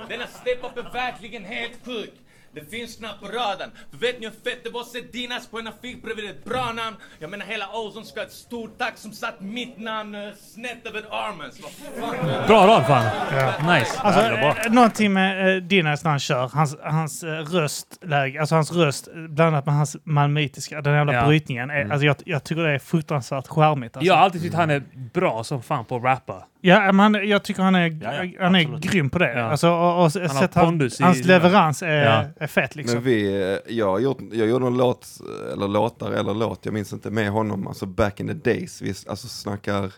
denna step-up är verkligen helt sjuk. Det finns knappt på radarn. För vet ni hur fett det var att se Dinas på en affisch bredvid ett bra namn? Jag menar hela Ozon ska ha ett stort tack som satt mitt namn eh, snett över armen. Så vad fan. Bra rad fan. Nice. Alltså, Jävla bra. eh, någonting med eh, Dinas när han kör, hans, hans eh, röstläge, alltså hans röst eh, blandat med hans malmöitiska, den jävla Ja. Mm. brytningen. Är, alltså, jag, jag tycker det är fruktansvärt charmigt. Alltså. Jag har alltid tyckt han är bra som fan på att rappa. Ja, men han- jag tycker han är, Ja, ja, han är absolut. grym på det. Ja. Alltså, och, och, han har sett han, pondus i hans det. leverans är, Ja. är fet liksom. Men vi, eh, jag, har gjort, jag gjorde en låt, eller låtar, eller låt, jag minns inte, med honom, alltså back in the days, vi alltså snackar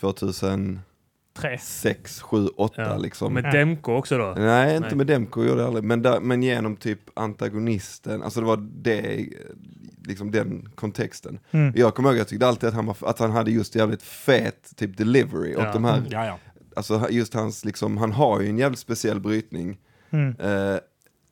2006, Tre. 7, 8 Ja. liksom. Med Demko också då. Nej, inte Nej. med Demko gjorde jag aldrig, men, där, men genom typ antagonisten, alltså det var det, eh, liksom den kontexten. Mm. Jag kommer ihåg, jag tyckte alltid att han, var, att han hade just jävligt fet typ delivery, och Ja. Mm. de här, Ja, ja. alltså just hans, liksom, han har ju en jävligt speciell brytning. Mm. Eh,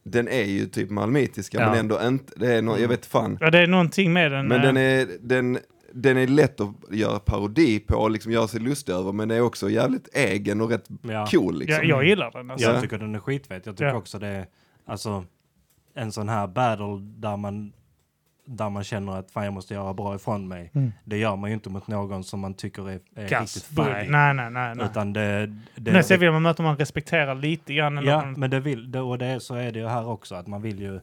den är ju typ malmitiska, Ja. men ändå inte, det är nå jag vet fan. Ja, det är någonting med den. Men eh, den är, den, den är lätt att göra parodi på och liksom göra sig lustig över, men den är också jävligt egen och rätt Ja. cool liksom. jag, jag gillar den. Alltså. Ja. Jag tycker den är skitfet. Jag tycker Ja. också det är alltså, en sån här battle där man, där man känner att fan jag måste göra bra ifrån mig. Det gör man ju inte mot någon som man tycker är, är Kass. riktigt Bu- fine. Nej, nej, nej. nej. Utan det, det Nästa vill man möta om man respekterar lite grann. eller Ja, man- men det vill, det, och det, så är det ju här också att man vill ju,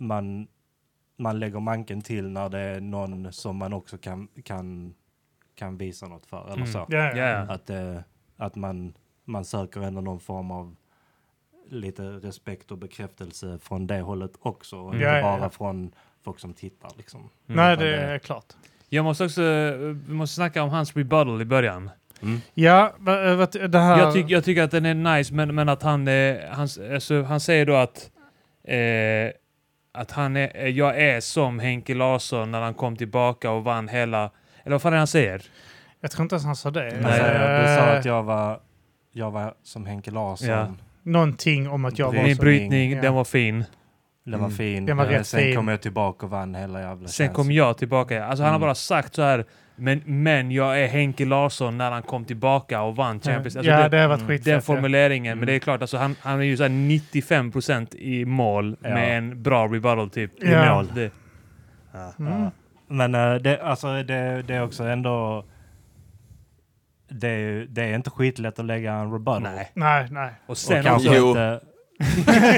man, man lägger manken till när det är någon som man också kan, kan, kan visa något för eller så. Mm. Ja, ja. Ja, ja. Att, eh, att man, man söker ändå någon form av lite respekt och bekräftelse från det hållet också. Och inte Ja, ja, bara ja. från folk som tittar liksom. Nej, Utan det är klart. Jag måste också eh, vi måste snacka om hans rebuttal i början. Ja, va- va- det här... Jag, tyck, jag tycker att den är nice, men, men att han, eh, han, alltså, han säger då att, eh, att han är, eh, jag är som Henke Larsson när han kom tillbaka och vann hela... Eller vad fan är det han säger? Jag tror inte ens han sa det. Han säger, du sa Eh, att jag var, jag var som Henke Larsson. Ja. Eh, Någonting om att jag var Min så... brytning, Ja. den var fin. Den var fin. Den var Eh, rätt Sen fin. kom jag tillbaka och vann hela jävla Mm. Sen tjänsten. kom jag tillbaka. Alltså han har Mm. bara sagt så här, men, men jag är Henke Larsson när han kom tillbaka och vann Champions Alltså, ja, det- det, har varit skitfett. Den ja. Mm. formuleringen, men det är klart, alltså, han, han är ju så här 95% i mål Ja. med en bra rebuttal typ. I Ja. mål. Det, Mm. Men eh, det, alltså, det, det är också ändå... Det är, ju- det är inte skitlätt att lägga en rebuttal. nej. Nej, nej. Och sen Och kanske Jo. inte...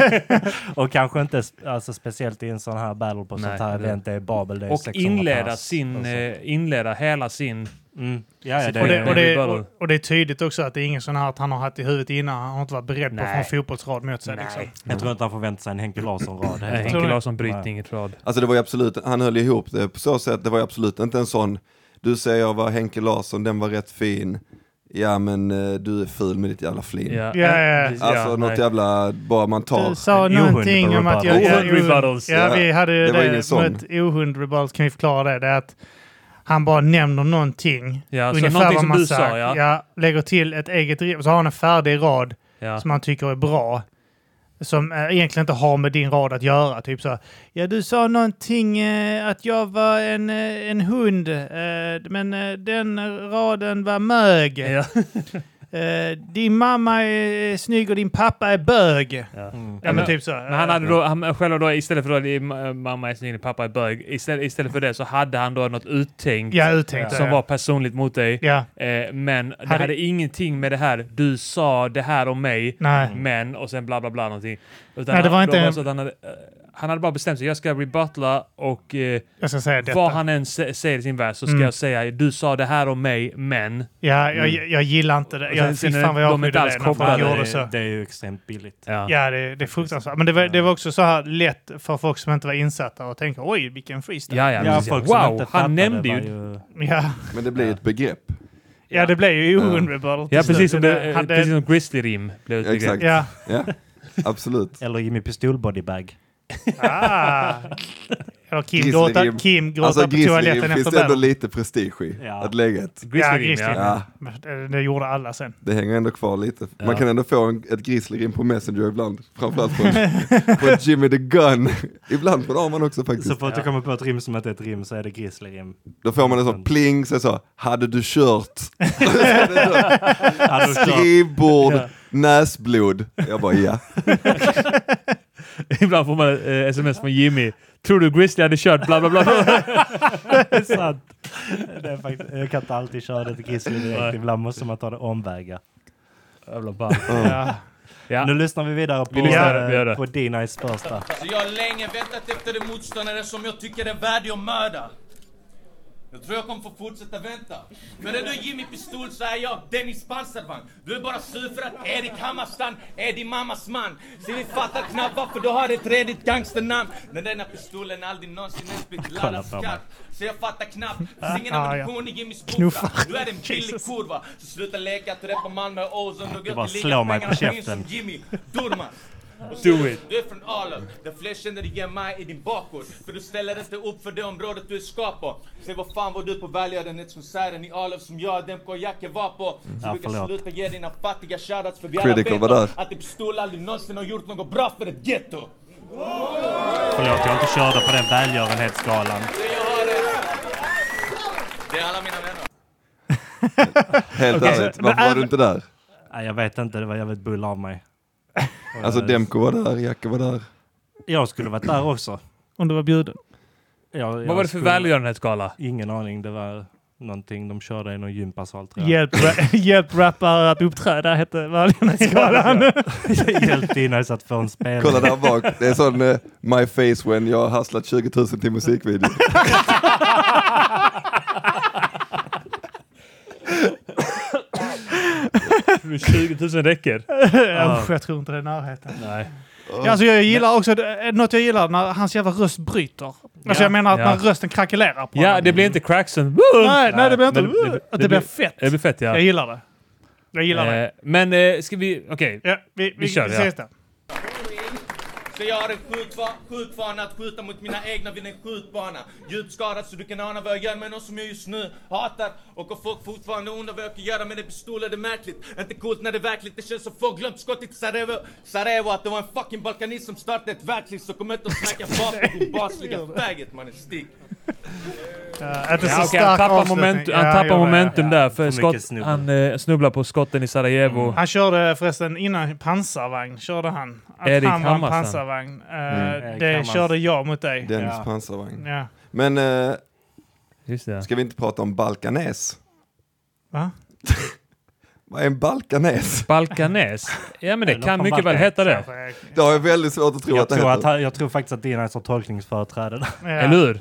och kanske inte sp- alltså, speciellt i en sån här battle på Nej, sånt här det- event. Det är Babel, det är Och 600 inleda pass alltså. sin, och så. eh, inleda hela sin... Mm. Ja, ja, det, Och är- det, och, det, rebuttal. och, och det är tydligt också att det är ingen sån här att han har haft i huvudet innan. Han har inte varit beredd på att få en Nej. fotbollsrad mot sig. Liksom. jag tror inte han förväntar sig en Henke Larsson-rad. Nej, heller. Henke jag. Larsson brytning eh, i rad. Alltså det var ju absolut, han höll ihop det på så sätt, det var ju absolut inte en sån, du säger jag var Henke Larsson, den var rätt fin, ja men eh, du är ful med ditt jävla flin. Ja, Ja, ja, ja. Alltså något jävla, bara man tar. Du sa en någonting om ohund-rebuttal. att jag... Ohund rebuttals. Ja, vi hade ju Det var det, ingen det sån. med ohund rebuttals. Kan vi förklara det? Det är att han bara nämner någonting. Ja, så ungefär Alltså, någonting vad som man du sa, sagt. ja. lägger till ett eget... re- Så har han en färdig rad. ja. som han tycker är bra. Som eh, egentligen inte har med din rad att göra. Typ så här, ja du sa någonting eh, att jag var en, eh, en hund, eh, men eh, den raden var mög. Ja. Eh, din mamma är eh, snygg och din pappa är bög. Ja, Mm. men, men- typ så. Men han hade då, han själv då, istället för då, det är, eh, mamma är snygg, pappa är bög, istället, istället för det så hade han då något uttänkt eh, ja, uttänkt. som ja. var personligt mot dig. Ja, Eh, men det Hade- hade ingenting med det här, du sa det här om mig, nej. men och sen bla bla bla någonting. Utan Mm. Nej, det var han, inte då en- så att han, hade, eh, han hade bara bestämt sig, jag ska rebuttla och eh, Jag ska säga detta. vad han än sä- säger i sin vers så ska Mm. jag säga, du sa det här om mig, men. Ja, jag, jag gillar inte det. Mm. Och Jag, sen- fy sen är fan vad jag de inte avskydde alls det när kopplade. han det, gjorde så. är, det är ju extremt billigt. Ja. Ja, det, det är fruktansvärt. Men det var, det var också så här lätt för folk som inte var insatta och tänkte oj, vilken freestyle. Ja, ja, Ja, precis. folk Alltså, som wow, inte fattade han nämnde var ju... Ja, Men det blir ju ett begrepp. ja det blev ju oundvikbart. Ja, precis som, det, hade, precis som Grizzly-rim blev ett Ja, begrepp. exakt. Ja. Ja, absolut. Eller Jimmy Pistol-bodybag. Ah. Eller Kim Grizzly gråta, Jim. Kim gråta Alltså på grizzly toaletten finns efter det ändå bären. lite prestige i Ja. att lägga ett. Ja, Grizzly-rim, grizzly. ja. Ja, Det- Det gjorde alla sen. det hänger ändå kvar lite. Man Ja. kan ändå få en, ett grizzly på Messenger ibland. Framförallt på, på Jimmy the Gun. Ibland på det har man också Så faktiskt. fort jag kommer på ett rim som inte är ett rim så är det grizzly-rim. Då får man en sån pling, så är det så, hade du kört? Ja, då kör- Skrivbord, näsblod. Jag bara ja. Ibland får man eh, sms från Jimmy. Tror du Grizzly hade kört bla bla bla? bla. Det är sant. Det är faktiskt, jag kan inte alltid köra det till Grizzly direkt. Nej. Ibland måste man ta det omvägar. Jävla ball. Ja. Ja. Nu lyssnar vi vidare på, Vi eh, lyssnar, vi gör det. på D-Nice första. Så jag har länge väntat efter en motståndare som jag tycker är värdig att mörda. Jag tror jag kommer få fortsätta vänta. Men är du Jimmy Pistol så är jag Dennis Pansarvagn. Du är bara sur för att Erik Hammarstrand är din mammas man. Så vi fattar knappt varför du har ett redigt gangsternamn. När denna pistolen aldrig någonsin ens blivit laddad på mig. skarpt. Så jag fattar knappt. Finns ingen Ah, ja. ammunition i Jimmys Knuffar. bok. Du är en billig kurva. Så sluta leka att reppa Malmö och Ozon. Du Det bara slår mig på käften. Jimmy Durmaz. Do it. Du är från Arlöv, där fler känner igen mig i din bakgård. För du ställer inte upp för det området du är skap på. Se vad fan var du på välgörenhetskonserten i Arlöv som jag och Demko och Jacke var på. Så Ja, du kan förlåt. sluta ge dina fattiga shoutouts för vi alla Critical vet var där. att din pistol aldrig någonsin har gjort något bra för ett getto. Förlåt, jag inte körde på den välgörenhetsskalan. Så jag har det. Det är alla mina vänner. Helt ärligt, varför var du inte där? Nej, jag vet inte. Det var jävligt bull av mig. Alltså Demko var där, Jacke var där. Jag skulle varit där också. Om du var bjuden. Jag, jag Vad var det för skulle- välgörenhetsgala? Ingen aning. Det var någonting de körde i någon gympasal tror jag. Hjälp, ra- hjälp rappare att uppträda hette välgörenhetsgalan. Hjälp D-Nice att få en spelare. Kolla där bak, det är sån eh, my face when jag har hustlat 20 000 till musikvideo. Tror du 20 000 räcker? Ja, usch, jag tror inte det är närheten. Nej. Ja, alltså jag gillar också, eh, något jag gillar när hans jävla röst bryter. Alltså jag menar att Ja. när rösten krackelerar på Ja, honom. det blir inte cracksen. Nej, nej, det blir inte... Men det- det- att det, blir det blir- fett. Det blir fett ja. Jag gillar det. Jag gillar det. Eh, Men eh, ska vi... Okej. Ja, vi, vi, vi kör, ja. ses Äh, där. Så jag har en skjutkva- skjutvana att skjuta mot mina egna vid en skjutbana. Djupt skadad så du kan ana vad jag gör med någon som jag just nu hatar. Och om folk fortfarande undrar vad jag kan göra med en pistol är det märkligt. Inte coolt när det är verkligt. Det känns som folk glömt skottet i Sarajevo. Sarajevo att det var en fucking balkanist som startade ett världskrig. Så kom inte och snacka vapen din basliga faggot mannen. Stick. Ja, inte Ja, så okej, han stark tappar, avslutning. moment, han Ja, tappar jag vet. momentum där. För För mycket skott, snubbel. han eh, snubblar på skotten i Sarajevo. Han körde förresten innan pansarvagn, körde han. Att Erik Mm. han var en Hammarstrand. pansarvagn. Eh, Erik det Hammarstrand. körde jag mot dig. Dennis Ja. pansarvagn. Ja. Men eh, Just det. ska vi inte prata om Balkanes? Va? Vad är en Balkanes? Balkanes? Ja men det Eller kan från mycket väl Balkan. heta det. eh, Det har jag väldigt svårt att tro Jag att det tror, att, heter. han- jag tror faktiskt att D-Nice har tolkningsföreträde. där. Ja. Eller hur?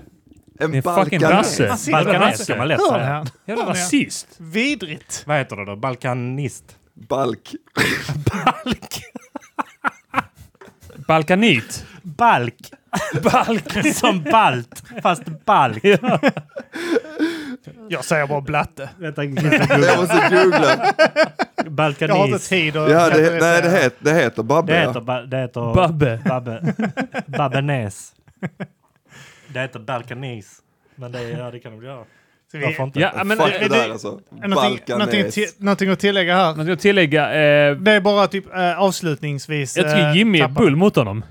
En Ni är fucking brasse. ser Balkanes det, man ser kan man lätt Hör säga. han? Jävla Hör ni? rasist! Eh, Vidrigt. Vad heter det då? Balkanist? Balk. Balkanit! Balk! Balk! Som balt, fast balk. Jag säger bara blatte. Vänta, Jag måste googla. Jag har inte Balkanist. tid att... Ja, det, nej, det heter, det heter Babbe. Det ja. heter, ba- det heter Babbe. Babbe. Babbenes. Det heter Balkanis. Men det, ja, det kan de göra. Så vi- Varför inte? Ja men Fuck eh, det det- där alltså. någonting, någonting, Balkanes. till- någonting att tillägga här. något jag tillägga. Eh, Det är bara typ eh, avslutningsvis. jag tycker eh, Jimmy är tappar- bull mot honom.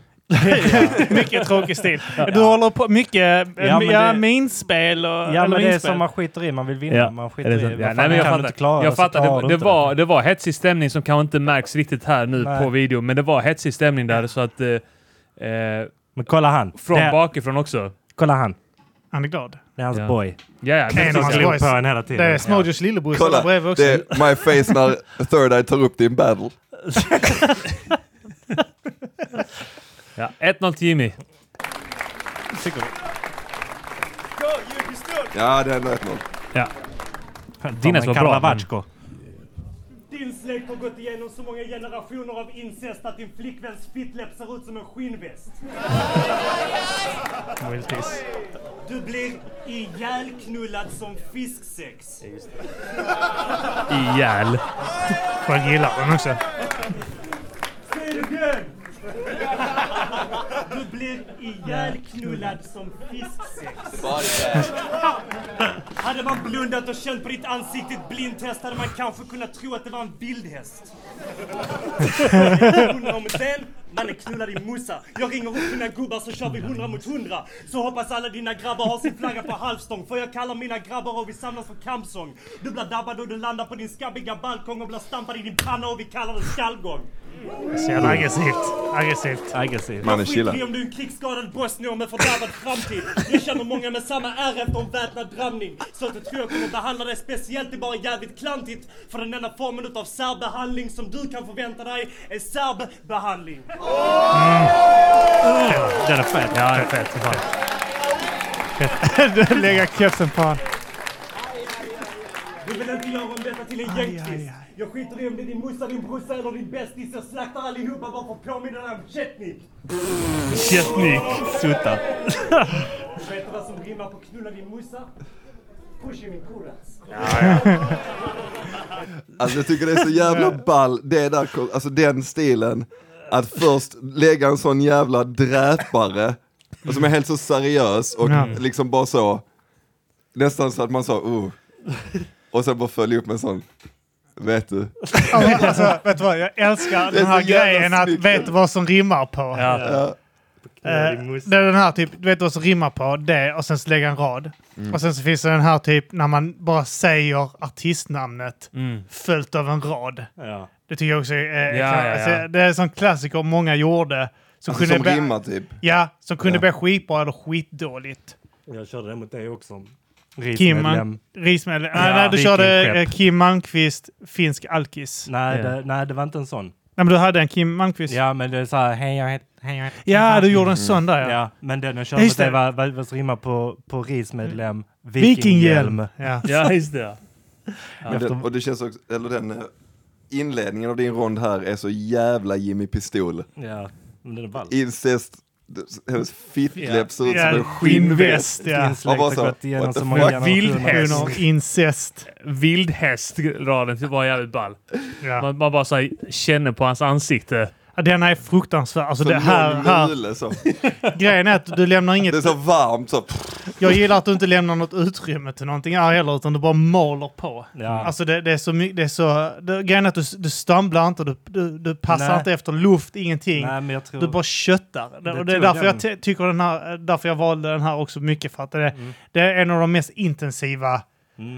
Mycket tråkig stil. Du håller på mycket eh, Ja, men ja, det- minspel och... Ja men det är minspel. som man skiter i, man vill vinna. Man skiter är det i, sant? Vad Ja, fan, nej, men jag kan du fattar. inte klara jag så fattar. klarar Det, du det, inte var, det var hetsig stämning som kanske inte märks riktigt här nu Nej. på video, men det var hetsig stämning där så att... Eh, eh, Men kolla han. från det, bakifrån också. Kolla han. Han är glad. Det är hans Ja. boy. Ja, ja. En men- av hans Jag glor boys. på honom hela Det tiden. är Snodgers lillebror som Kolla, står bredvid också. det är my face när Third Eye tar upp din battle. ja. 1-0 till Jimmy. Ja, det är ändå 1-0. Ja. Ja. Dinas var Men bra, Karavaggio. Din släkt har gått igenom så många generationer av incest att din flickväns fittläpp ser ut som en skinnväst. Du blir ihjälknullad som fisksex. Ihjäl. Jag gillar den också. Säg det igen! Du blir ihjälknullad som fisksex. Hade man blundat och känt på ditt ansikte i ett blindtest hade man kanske kunnat tro att det var en vildhäst. Hundra mot en, mannen knullar din morsa. Jag ringer upp mina gubbar så kör vi hundra mot hundra. Så hoppas alla dina grabbar har sin flagga på halvstång. För jag kallar mina grabbar och vi samlas för kampsång. Du blir dabbad och du landar på din skabbiga balkong och blir stampad i din panna och vi kallar det skallgång. Så jävla aggressivt. Aggressivt. Aggressiv. Mannen Skit chilla. i om du är en krigsskadad bosnier med fördärvad framtid. Jag känner många med samma ärr efter en väpnad drabbning. Så att jag tror jag kommer behandla dig speciellt, det är bara jävligt klantigt. För den enda formen utav särbehandling som du kan förvänta dig är särbehandling. Den är fet. Ja, det är fett som fan. Lägga kepsen på honom. Du vill inte göra om detta till en aj, gängtvist. aj. Jag skiter i om det är din morsa, din brorsa eller din bästis. Jag slaktar allihopa bara för att påminna dig om Chetnik. Kättnik. Sutta. Vet du vad som rimmar på knulla din morsa? Pushy min kurats. Alltså jag tycker det är så jävla ball, det där, alltså den stilen, att först lägga en sån jävla dräpare, och som är helt så seriös och Ja. liksom bara så, nästan så att man sa oh, och sen bara följa upp med en sån, vet du, Alltså, vet du vad? Jag älskar Det är den här så jävla grejen att snyggt. vet vad som rimmar på. Ja. alltså, Eh, det är den här typ, du vet vad som rimmar på det och sen så lägga en rad. Mm. Och sen så finns det den här typ när man bara säger artistnamnet Mm. följt av en rad. Ja. Det tycker jag också är... eh, Ja, kan- ja, ja. alltså, Det är en sån klassiker många gjorde. Som alltså, kunde som bli- rimmar typ. Ja, som kunde Ja. bli skitbra eller skitdåligt. Jag körde den mot dig också. Kim Rismedlem. Nej, Ja, nej, du Viking körde eh, Skepp. Kim Malmqvist, finsk alkis. Nej. Nej, Ja. det, nej, det var inte en sån. men du hade en Kim Malmqvist. Ja, Ja, men det är så här, hej jag heter... Hej, jag heter. du gjorde en sån där ja. Ja, men den jag körde Just mot dig det. Mm. var, var, var som rimmar på, på rismedlem, Vikinghjälm. vikinghjälm. Ja. Ja, just det. Men den, och det känns också, eller den eh, inledningen av din rond här är så jävla Jimmy Pistol. Ja, men den är ball. Incest, hennes fittläpp ser ut som Ja, en skinnväst. ja. Insläkt vad har sa- gått igenom what the så fuck? många generationer. Vildhäst. Under incest. Vildhäst-raden typ var jävligt ball. Ja. Man, man bara så här, känner på hans ansikte. Ja, Den här är fruktansvärd. Alltså Som det här, någon här, mule, så. grejen är att du lämnar Det är inget... så varmt så. Jag gillar att du inte lämnar något utrymme till någonting här heller, utan du bara maler på. Ja. Alltså det, det är så mycket, det är så... Det, grejen är att du, du stumblar inte, du, du, du passar Nej. inte efter luft, ingenting. Nej, men jag tror... Du bara köttar. Det, Det och det är tror därför jag. jag ty- tycker den här, därför jag valde den här också mycket för att det, Mm. det är en av de mest intensiva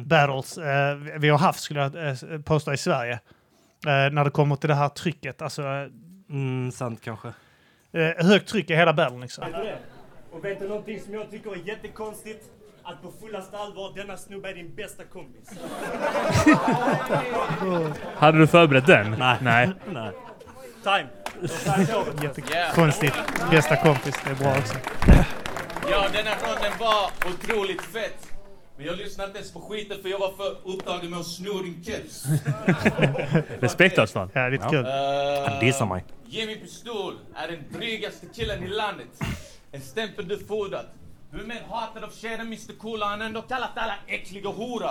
battles eh, vi har haft skulle jag eh, påstå i Sverige. Eh, när det kommer till det här trycket, alltså eh, Mm, sant kanske. högt tryck i hela battlen liksom. Vet du det? Och vet du någonting som jag tycker är jättekonstigt? Att på fullaste allvar, denna snubbe är din bästa kompis. Hade du förberett den? Nej. Nej. Nej. Time! Jättekonstigt. Bästa kompis, det är bra också. Ja, den här ronden var otroligt fett. Men jag lyssnade inte ens på skiten för jag var för upptagen med att sno din keps. Respekt Östman. Ja, lite kul. Eh, Dissa mig. Jimmy Pistol är den drygaste killen i landet. En stämpel du fordrat. Du är mer hatad av tjejer än Mr Cool och han har ändå kallat alla äckliga hora.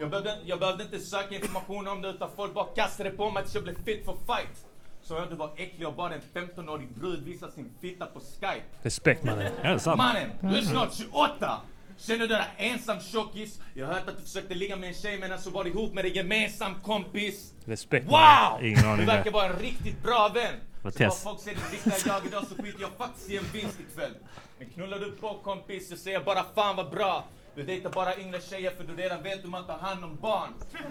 Jag behövde, jag behövde inte söka information om det utan folk bara kastade på mig tills jag blev fit for fight. Så jag du var äcklig och bara en 15-årig brud visar sin fitta på Skype. Respekt mannen. Ja, det är sant. Mannen, du är snart 28! Känner du dig ensam tjockis? Jag har hört att du försökte ligga med en tjej men alltså var ihop med en gemensam kompis. Respekt mannen. Wow! Ingen aning Du verkar där. vara en riktigt bra vän. Vad Så vad test. folk ser ditt riktiga jag idag så skiter jag faktiskt i en vinst ikväll. Men knullar du på kompis så säger jag bara fan vad bra. Du dejtar bara yngre tjejer för du redan vet hur man tar hand om barn.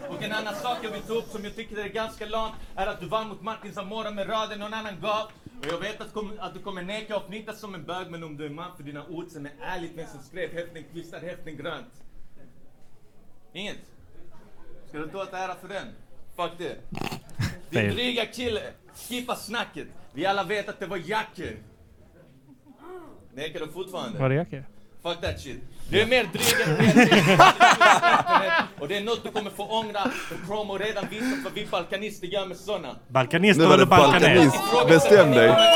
Och en annan sak jag vill ta upp som jag tycker är ganska lamt är att du vann mot Martin Zamora med raden någon annan gav. Och jag vet att, kom, att du kommer neka och fnittra som en bög men om du är man för dina ord sen är ärligt vem som skrev hälften kvistar hälften grönt. Inget? Ska du ta åt ära för den? Fuck det. Din Fail. dryga kille, skippa snacket. Vi alla vet att det var Jacke. Nekar du fortfarande? Var det Jacke? Fuck that shit. Du är mer dryg än mer dryg. Och det är något du kommer få ångra. För Chromo redan visat vad vi balkanister gör med såna. Balkanist Nu var eller det balkanist? balkanist. Bestäm dig. Valet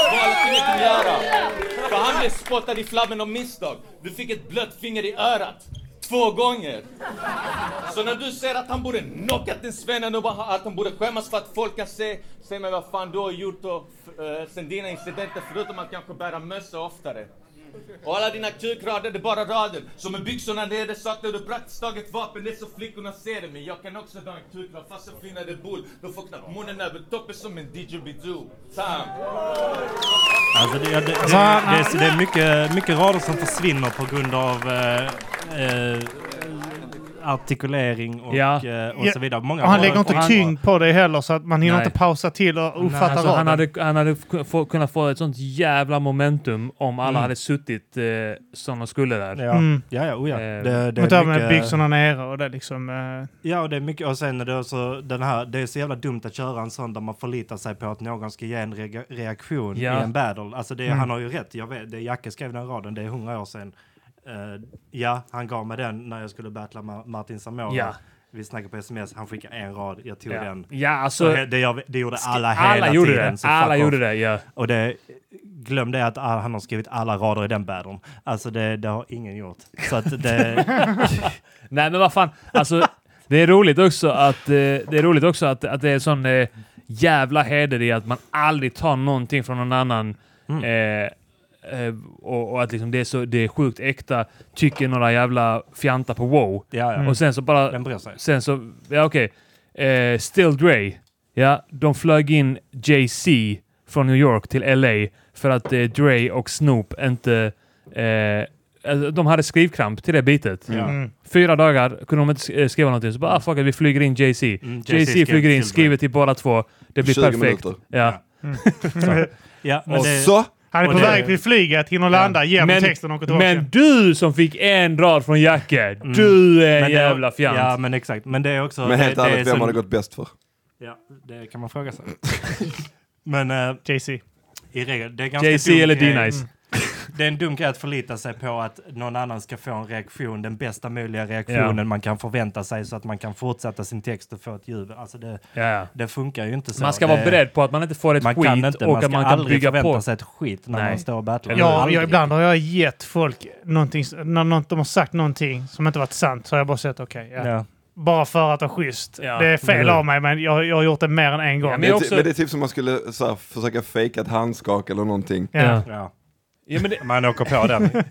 inget att göra. För han blev spottad i flabben av misstag. Du fick ett blött finger i örat. Två gånger. Så när du säger att han borde knockat den svennen och bara- att han borde skämmas för att folk kan se. Säg mig vad fan du har gjort och, eh, sen dina incidenter förutom att kanske bära mössa oftare. Och alla dina kukrader, det är bara rader. Så med byxorna nere saknar du praktiskt taget vapen, det är så flickorna ser det. Men jag kan också dra en kukrad fast jag finner det bull. Du får knappt munnen över toppen som en didgeridoo. Time! Alltså det, ja, det, det, det, är- det är mycket, mycket rader som försvinner på grund av eh, eh, artikulering och, Ja. eh, och Ja. så vidare. Många Och han var- lägger och inte han- tyngd på det heller så att man hinner Nej. inte pausa till och Nej, uppfatta alltså, raden. han hade, han hade k- få, kunnat få ett sånt jävla momentum om alla Mm. hade suttit eh, som de skulle där. Ja, Mm. ja, ja, oh ja. Eh, Det, det Och där är med mycket, byxorna nere och det liksom... eh, ja, och det är mycket. Och sen är det också den här, det är så jävla dumt att köra en sån där man förlitar sig på att någon ska ge en re- reaktion Ja. Mm. i en battle. Alltså det, han har ju rätt, jag vet, det, Jacke skrev den raden, det är hundra år sedan. Eh, ja, han gav mig den när jag skulle battla Ma- Martin Samora. Ja. Vi snackade på sms, han skickade en rad, jag tog Ja. den. ja, Så alltså... he- det, jag, det gjorde alla hela Alla gjorde tiden. det. så fuck Alla off. gjorde det, ja. Och det, glöm det att all, han har skrivit alla rader i den battlen. Alltså det, det har ingen gjort. Så att det, Nej men vad fan, alltså det är roligt också att, eh, det, är roligt också att, att det är sån eh, jävla heder i att man aldrig tar någonting från någon annan. Mm. Eh, eh, och, och att liksom det, är så, det är sjukt äkta, tycker några jävla fjantar på wow. ja, Mm. ja. Och sen så bara... Den bryr sig. Sen så, ja okej. Eh, Still Dre. Ja, de flög in JC från New York till LA för att eh, Dre och Snoop inte... Eh, alltså, de hade skrivkramp till det bitet. Ja. Mm. Fyra dagar kunde de inte sk- eh, skriva någonting, så bara ah, fuck it, vi flyger in JC. Mm, JC JC skrev flyger in, till skriver till båda två. Det blir 20 perfekt. minuter. Ja. Ja, men Och det, så! Han är Och på det- väg till flyget, hinner landa, ger dem Men, texten och åker tillbaka. men du som fick en rad från Jacke, du är en Mm. men det- jävla fjant. Ja, men exakt. Men det är också... Men helt det, det är ärligt, vem så- hade gått bäst för? Ja, det kan man fråga sig. men eh, JC. i regel, det är ganska JC dum eller grej. Mm. D-Nice. Det är en dum grej att förlita sig på att någon annan ska få en reaktion, den bästa möjliga reaktionen Ja. man kan förvänta sig så att man kan fortsätta sin text och få ett jubel. Alltså det, Ja, ja. det funkar ju inte så. Man ska det, vara beredd på att man inte får ett man skit kan inte, och man ska att man kan aldrig bygga förvänta på. sig ett skit när Nej. man står och battlar. Ja, Aldrig. jag, ibland har jag gett folk någonting, s- när någon- de har sagt någonting som inte varit sant så har jag bara sett okej, ja. Ja. bara för att vara schysst. Ja. Det är fel Mm. av mig men jag, jag har gjort det mer än en gång. Ja, Men, också- men det är typ som man skulle så här, försöka fejka ett handskak eller någonting. Ja. Ja. Ja. Ja, men, det, Man åker på den.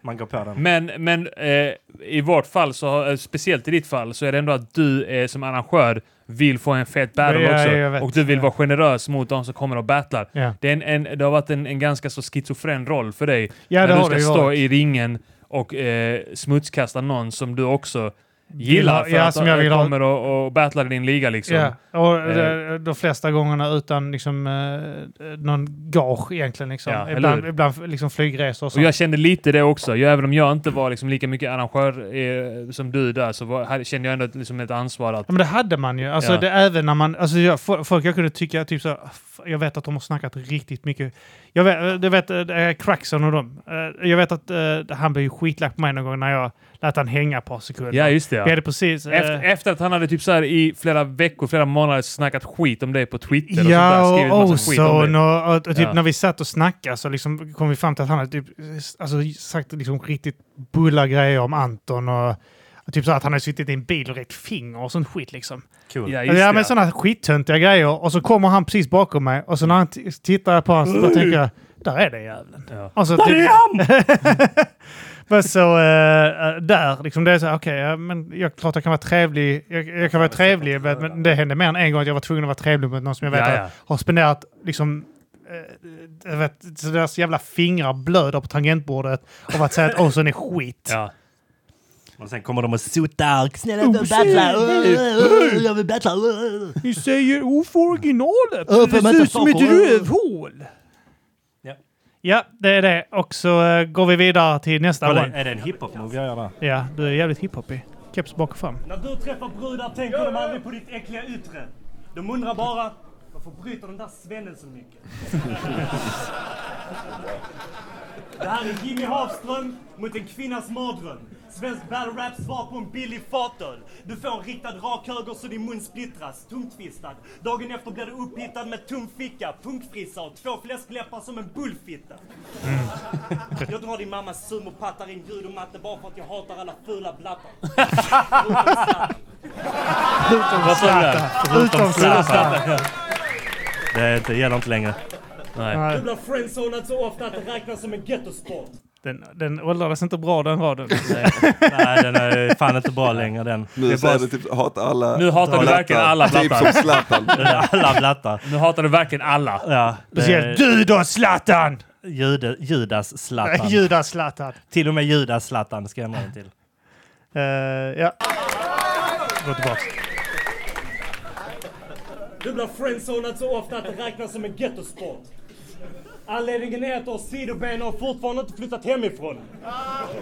Man går på den. men, men eh, i vårt fall, så, har- eh, speciellt i ditt fall, så är det ändå att du eh, som arrangör vill få en fet battle Ja, ja, också. jag vet. och du vill Ja. vara generös mot de som kommer och battlar. Ja. Det, är en, en, det har varit en, en ganska så schizofren roll för dig. Ja, det när du har ska det ju stå varit. i ringen och eh, smutskasta någon som du också ha- gillar för ja, att som jag eh, vill ha. kommer och, och battlar i din liga liksom. Ja, och eh, de, de flesta gångerna utan liksom, eh, någon gage egentligen. Liksom. Ja, eller ibland hur? ibland liksom flygresor och Och sånt. jag kände lite det också. Jag, även om jag inte var liksom lika mycket arrangör eh, som du där så var, hade, kände jag ändå ett- liksom ett ansvar att... Ja, men det hade man ju. Alltså, Ja. det, även när man, alltså, jag, fo- folk jag kunde tycka, typ så, här, "F- jag vet att de har snackat riktigt mycket. Jag vet, du vet eh, det är Crackson och dem. Eh, Jag vet att eh, han blev ju skitlack på mig någon gång när jag lät han hänga ett par sekunder. Ja, just det. Ja. Vi hade precis... eh, Efter, efter att han hade typ så här i flera veckor, flera månader snackat skit om dig på Twitter och sånt där, Ja, oh, skrivit och massa skit om Ozone dig. och, och, och typ Ja. när vi satt och snackade så liksom kom vi fram till att han hade typ, alltså, sagt liksom riktigt bulla grejer om Anton och, och typ så att han hade suttit i en bil och räckt finger och sånt skit liksom. Cool. Ja, just Ja, det. men sådana skittöntiga grejer. Och så kommer han precis bakom mig och så när han t- tittar på honom så bara tänker jag, där är den jäveln. Ja. Och så, typ- Där är han! men så eh, där, liksom det är så här, okej, ja, men jag, klart jag kan vara trevlig, jag, jag kan vara trevlig, men, men det hände mer än en gång att jag var tvungen att vara trevlig mot någon som jag vet Ja, ja. att- har spenderat liksom eh, jag vet, så deras jävla fingrar blöder på tangentbordet av att säga att Ozon är skit. Ja. Och sen kommer de och sotar. Snälla, Oh, shit. jag vill battla. Ni säger O för originalet. Ö Det för ser ut som ett metaforer. rövhål. Ja. Ja, det är det. Och så eh, går vi vidare till nästa Kolla, one. Är det en hiphop-move jag gör där? Ja, du är jävligt hiphopig. Keps bak och fram. När du träffar brudar tänker de aldrig på ditt äckliga yttre. De undrar bara, varför bryter den där svennen så mycket? Det här är Jimmy Hafström mot en kvinnas mardröm. Svensk battle rap svar på en billig fatöl. Du får en riktad rak höger så din mun splittras, tungtvistad. Dagen efter blir du upphittad med tom ficka, punkfrissa och två fläskläppar som en bullfitta. Jag drar din mammas sumopattar in ljud och matte bara för att jag hatar alla fula blattar. Förutom Zlatan. Vad sa du där? Utom Zlatan. Det är inte, gäller inte längre. Nej. Du blir friendzonad så ofta att det räknas som en gettosport. Den, den åldrades inte bra den raden. Nej, den är fan inte bra längre den. Nu Det är det bara- säger du typ, hata alla Nu hatar du blattar. verkligen alla Typ blattar. som Zlatan. Alla blattar. Nu hatar du verkligen alla. Ja, det Speciellt är du då Zlatan! Jude, Judas Zlatan. Judas Zlatan. Till och med Judas Zlatan ska jag ändra den till. Eh, ja. Gå tillbaka. Du blir friendzonad så ofta att det räknas som en gettosport. Anledningen är att du har sidobenen och fortfarande inte flyttat hemifrån.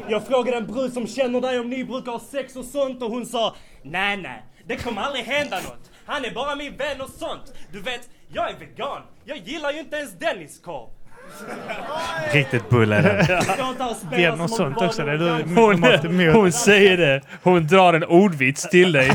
Jag frågade en brud som känner dig om ni brukar ha sex och sånt och hon sa Nej, nej, det kommer aldrig hända något. Han är bara min vän och sånt. Du vet, jag är vegan. Jag gillar ju inte ens Denniskorv. Riktigt bull är den. Jag inte alls spelat Vän som och om sånt var också. Det någon är du gammal- Hon, hon säger det. Hon drar en ordvits till dig.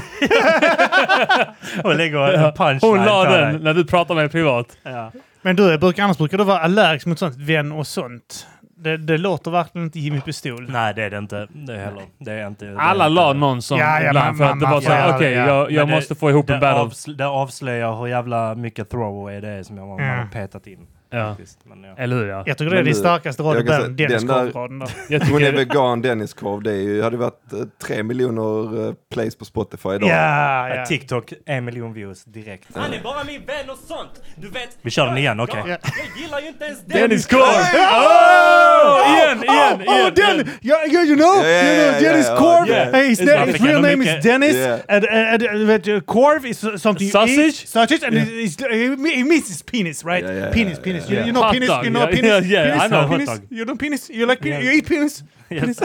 Hon lägger en punchline Hon la på den dig. när du pratar med henne privat. Ja. Men du, brukar, annars brukar du vara allergisk mot sånt, vän och sånt. Det, det låter verkligen inte Jimmy Pistol. Nej, det är det inte. Det heller. Det är inte. det är Alla inte- la någon som Ja, ja, ibland man- för att man- det var man- så här, ja, okej, ja. jag, jag Men det- måste få ihop det en battle. avs- det avslöjar hur jävla mycket throwaway det är som jag, man Ja. har petat in. Mm. Ja. Faktiskt. Men, ja. Eller hur ja. Jag tycker det är Men din du, starkaste rad i jag kan världen. säga, Dennis den där- korvraden där. Jag Hon är tycker vegan Denniskorv, det är ju, hade varit eh, tre miljoner eh, plays på Spotify idag. Ja, Ja, ja. TikTok, en miljon views direkt. Han är bara min vän och sånt. Du vet, Vi kör den jag är igen, vegan. okej. Jag gillar ju inte ens Dennis Denniskorv. Korv! Oh! Igen, igen, igen! igen. yeah, yeah, you know, Yeah, yeah, you know yeah, Dennis yeah, Korv. yeah. Hey, his, It's name, not his African, real no, name Mickey. is Dennis. Yeah. And, and, and, and uh, Korv is something you eat. Sausage? Sausage. And it's, it's, he means his penis, right? Yeah, yeah, penis, yeah, penis. yeah, You, yeah. you know Hot penis. dog, You know yeah, penis. yeah, yeah, penis, I know hot penis. dog. You know penis. You like penis. Yeah. You eat penis. Yes.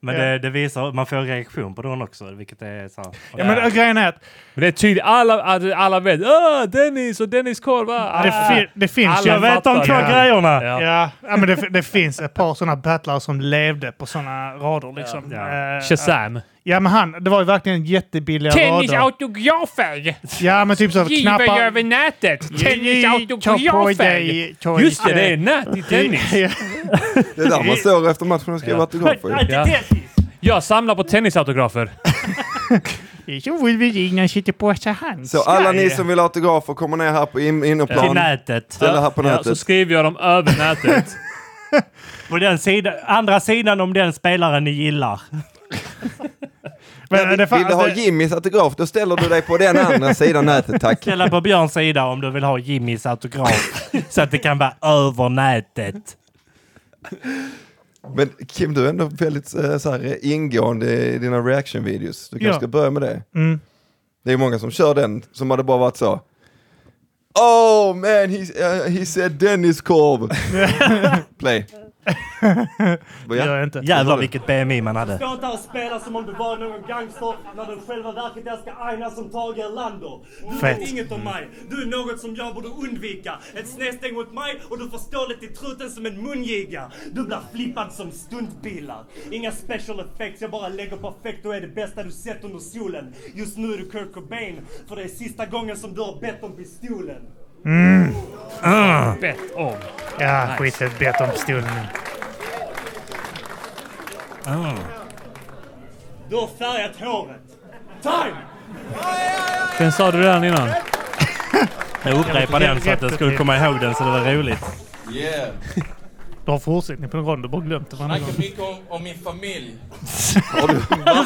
Men Ja. det, det visar, man får en reaktion på den också, vilket är så här, Ja, men äh, grejen är att Men det är tydligt, alla, alla- alla vet Åh, Dennis och Dennis korv. Ah. det, fi- det finns Alla ju... Jag vet de fattar två det. grejerna! Ja. Ja, ja men det, det finns ett par sådana battlare som levde på sådana rader liksom. Ja. Eh, Ah. Shazam. Ja men han, det var ju verkligen jättebilliga rader. Tennisautografer! Ja men typ så att knappar... nätet! Tennisautografer! Just det, Eh, det är nät i tennis. Det är där man står efter matchen och skriver Ja. autografer. ju. Ja. Jag samlar på tennisautografer. Så Wolverine sitter på så hand. Så alla ni som vill ha autografer kommer ner här på in- Till innerplan. nätet. Ställ det här på Ja, så nätet. skriver jag dem över nätet. På den sida, andra sidan om den spelaren ni gillar. Men, eh, det alltså- Vill fanns, du ha det- Jimmys autograf, då ställer du dig på den andra sidan nätet, tack. Ställa på Björns sida om du vill ha Jimmys autograf. så att det kan vara över nätet. Men Kim, du är ändå väldigt eh, så här, eh, ingående i dina reaction-videos. Du kanske Ja. ska börja med det. Mm. Det är många som kör den, som hade bara varit så. Oh man, he, uh, he said Dennis korv. Play. det Börja. gör jag inte. Jävlar vilket BMI man hade. Stå inte här och spela som om du var någon gangster när du själva verket älskar Aina som Tage Erlander. Du Fett. vet inget om mig. Du är något som jag borde undvika. Ett snedsteg mot mig och du får stå lite i truten som en mungiga. Du blir flippad som stuntbilar. Inga special effects, jag bara lägger perfekt och är det bästa du sett under solen. Just nu är du Kurt Cobain, för det är sista gången som du har bett om pistolen. Bett om. Ja, skit i bet om pistolen. Du har färgat håret. Time! Den sa du redan innan. Jag upprepar den för att jag skulle komma ihåg den så det var roligt. Yeah. Du har fortsättning på en rond, du har bara glömt det varenda gång. Snacka mycket om, om min familj.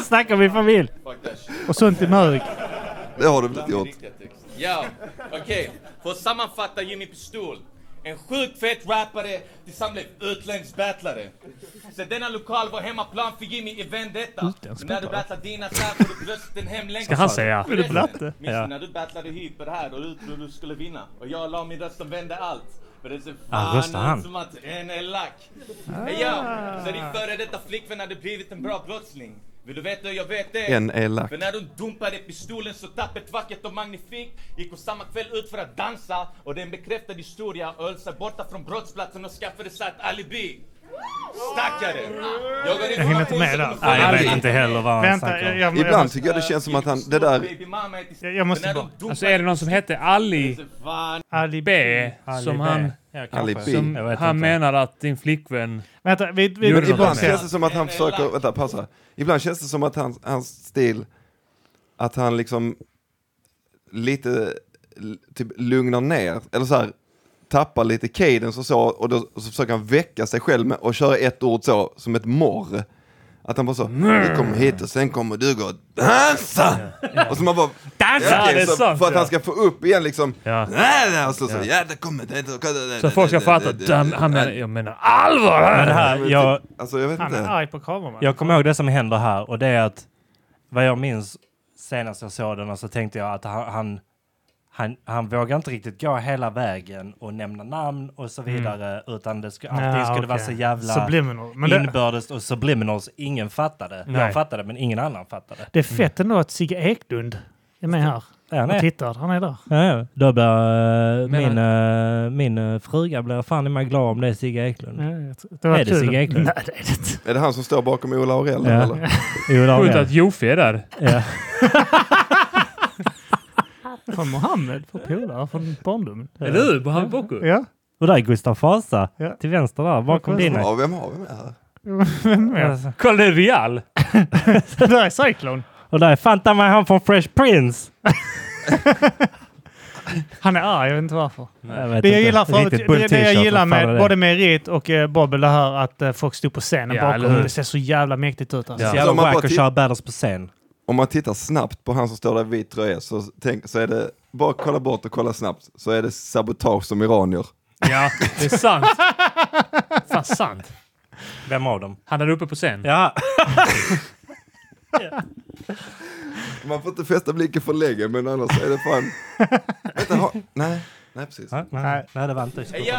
Snacka min familj! Fuck that shit. Och sånt i mög. Det har du väl inte gjort? Ja, okej. För att sammanfatta Jimmy Pistol. En sjukt fet rappare tillsammans med utländsk battlare. Så denna lokal var hemmaplan för Jimmy i Vendetta. Utländsk När du battlare? battlar dina så här får du plötsligt en hemlängtan. Ska han säga? Är du blatte? Minns Ja. du när du battlade hyper här och du trodde du skulle vinna? Och jag la min röst och vände allt. För det ser Ah, röstar fan han? ut som att en är lack. Ja, så din före detta flickvän hade blivit en bra brottsling. Vill du veta hur jag vet det? En elak. För när de dumpade pistolen så tappert, vackert och magnifikt gick hon samma kväll ut för att dansa och det är en bekräftad historia och höll sig borta från brottsplatsen och skaffade sig ett alibi. Stackare! Jag har hinner inte med där. Nej, jag vet information inte heller vad han Vänta, snackar jag, om. jag, jag, Ibland måste, tycker jag det känns som att han, det där, Baby mama är till- jag, jag måste För när bara... de dumpade Alltså är det någon som hette Ali Fan. Ali B Ali som B. han, Ja, kanske. Ali B. som Jag vet han inte. menar att din flickvän... Vänta, vi... vi Gjorde ibland Ibland något ser- känns det som att han försöker, vänta passa. Ibland känns det som att hans, hans stil, att han liksom lite l- typ lugnar ner, eller så här tappar lite cadence och så och, då, och så försöker han väcka sig själv med, och köra ett ord så, som ett morr. Att han bara så, du kommer hit och sen kommer du gå och dansa! Och så man bara, Dansa! ja, okej, det är så, sant, för att ja. han ska få upp igen liksom, Ja. nej, nej, och så, så ja, det kommer det, det, det, Så det, att folk ska det, fatta det, att det, han, han menar, jag menar allvar! Men här. det här, jag, Alltså jag vet Han är inte. arg på kameran. jag kommer ihåg det som händer här och det är att vad jag minns senast jag såg den och så tänkte jag att han, han, han, han vågar inte riktigt gå hela vägen och nämna namn och så vidare utan det sku, allting Mm. Ja, skulle vara okej. så jävla Subliminal. Men det, inbördes och subliminals. Ingen fattade. Nej. Jag fattade men ingen annan fattade. det är fett ändå att Sigge Eklund är med här Ja, och nej. tittar. Han är där. Ja, ja. Då blir eh, Men- min, eh, min eh, fruga blir fan i mig glad om det är Sigge Eklund. Ja, jag tror- Det var Är det kul. Sigge Eklund? Nej, det är det inte. Är det han som står bakom Ola Aurell? Ja. Eller? Jo, där har Sjukt vi att Jofi är där. den. Ja. Från Mohammed, från polare, från barndomen. Eller hur? Mohamed Boko? Ja. Och där är Gustav Vasa Ja. till vänster där bakom din. Ja, vem har vi med här? ja. Kolla, det är Real! Det där är Cyclone. Och där är fan ta mig han från Fresh Prince. Han är arg, jag vet inte varför. Jag vet Det jag inte. gillar, för, Riktigt det, det jag bull-t-shirt, gillar vad fan är med det? både Merit och eh, Bobbel det här att eh, folk stod på scenen Ja, eller bakom. hur? Det ser så jävla mäktigt ut. Alltså. Ja. Så Så om jävla man bara wack att titt- köra battles på scen. Om man tittar snabbt på han som står där i vit tröja så, tänk, så är det, bara kolla bort och kolla snabbt, så är det sabotage som iranier. Ja, det är sant. Fan, sant. Vem av dem? Han är uppe på scen. Ja, Man får inte fästa blicken för länge, men annars är det fan... Vänta, ha... Nej, nej precis. nej, nej. nej det var inte Ey yo!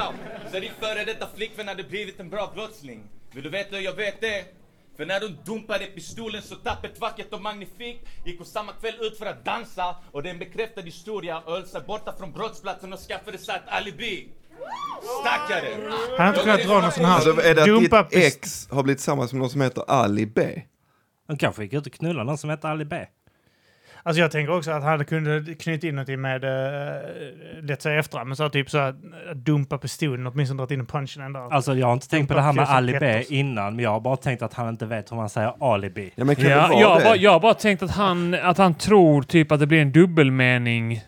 Så din före detta flickvän hade blivit en bra brottsling. Vill du veta hur jag vet det? För när hon dumpade pistolen så tappert, vackert och magnifikt gick hon samma kväll ut för att dansa och det är en bekräftad historia och höll sig borta från brottsplatsen och skaffade sig ett alibi. Stackare! Han har inte kunnat dra någon sån här... Alltså är det Dumpa att ditt pist- ex har blivit tillsammans med någon som heter Ali B? De kanske gick ut och knullade någon som hette Ali B. Alltså jag tänker också att han kunde knyta in någonting med, uh, lätt säga efter, men så här typ så här, att dumpa pistolen, åtminstone dragit in en punch ändå. Alltså jag har inte tänkt på det här med Fjorton Ali B Petters. innan, men jag har bara tänkt att han inte vet hur man säger alibi. Ja, men kan det Ja, vara jag, har det? bara, jag har bara tänkt att han, att han tror typ att det blir en dubbelmening.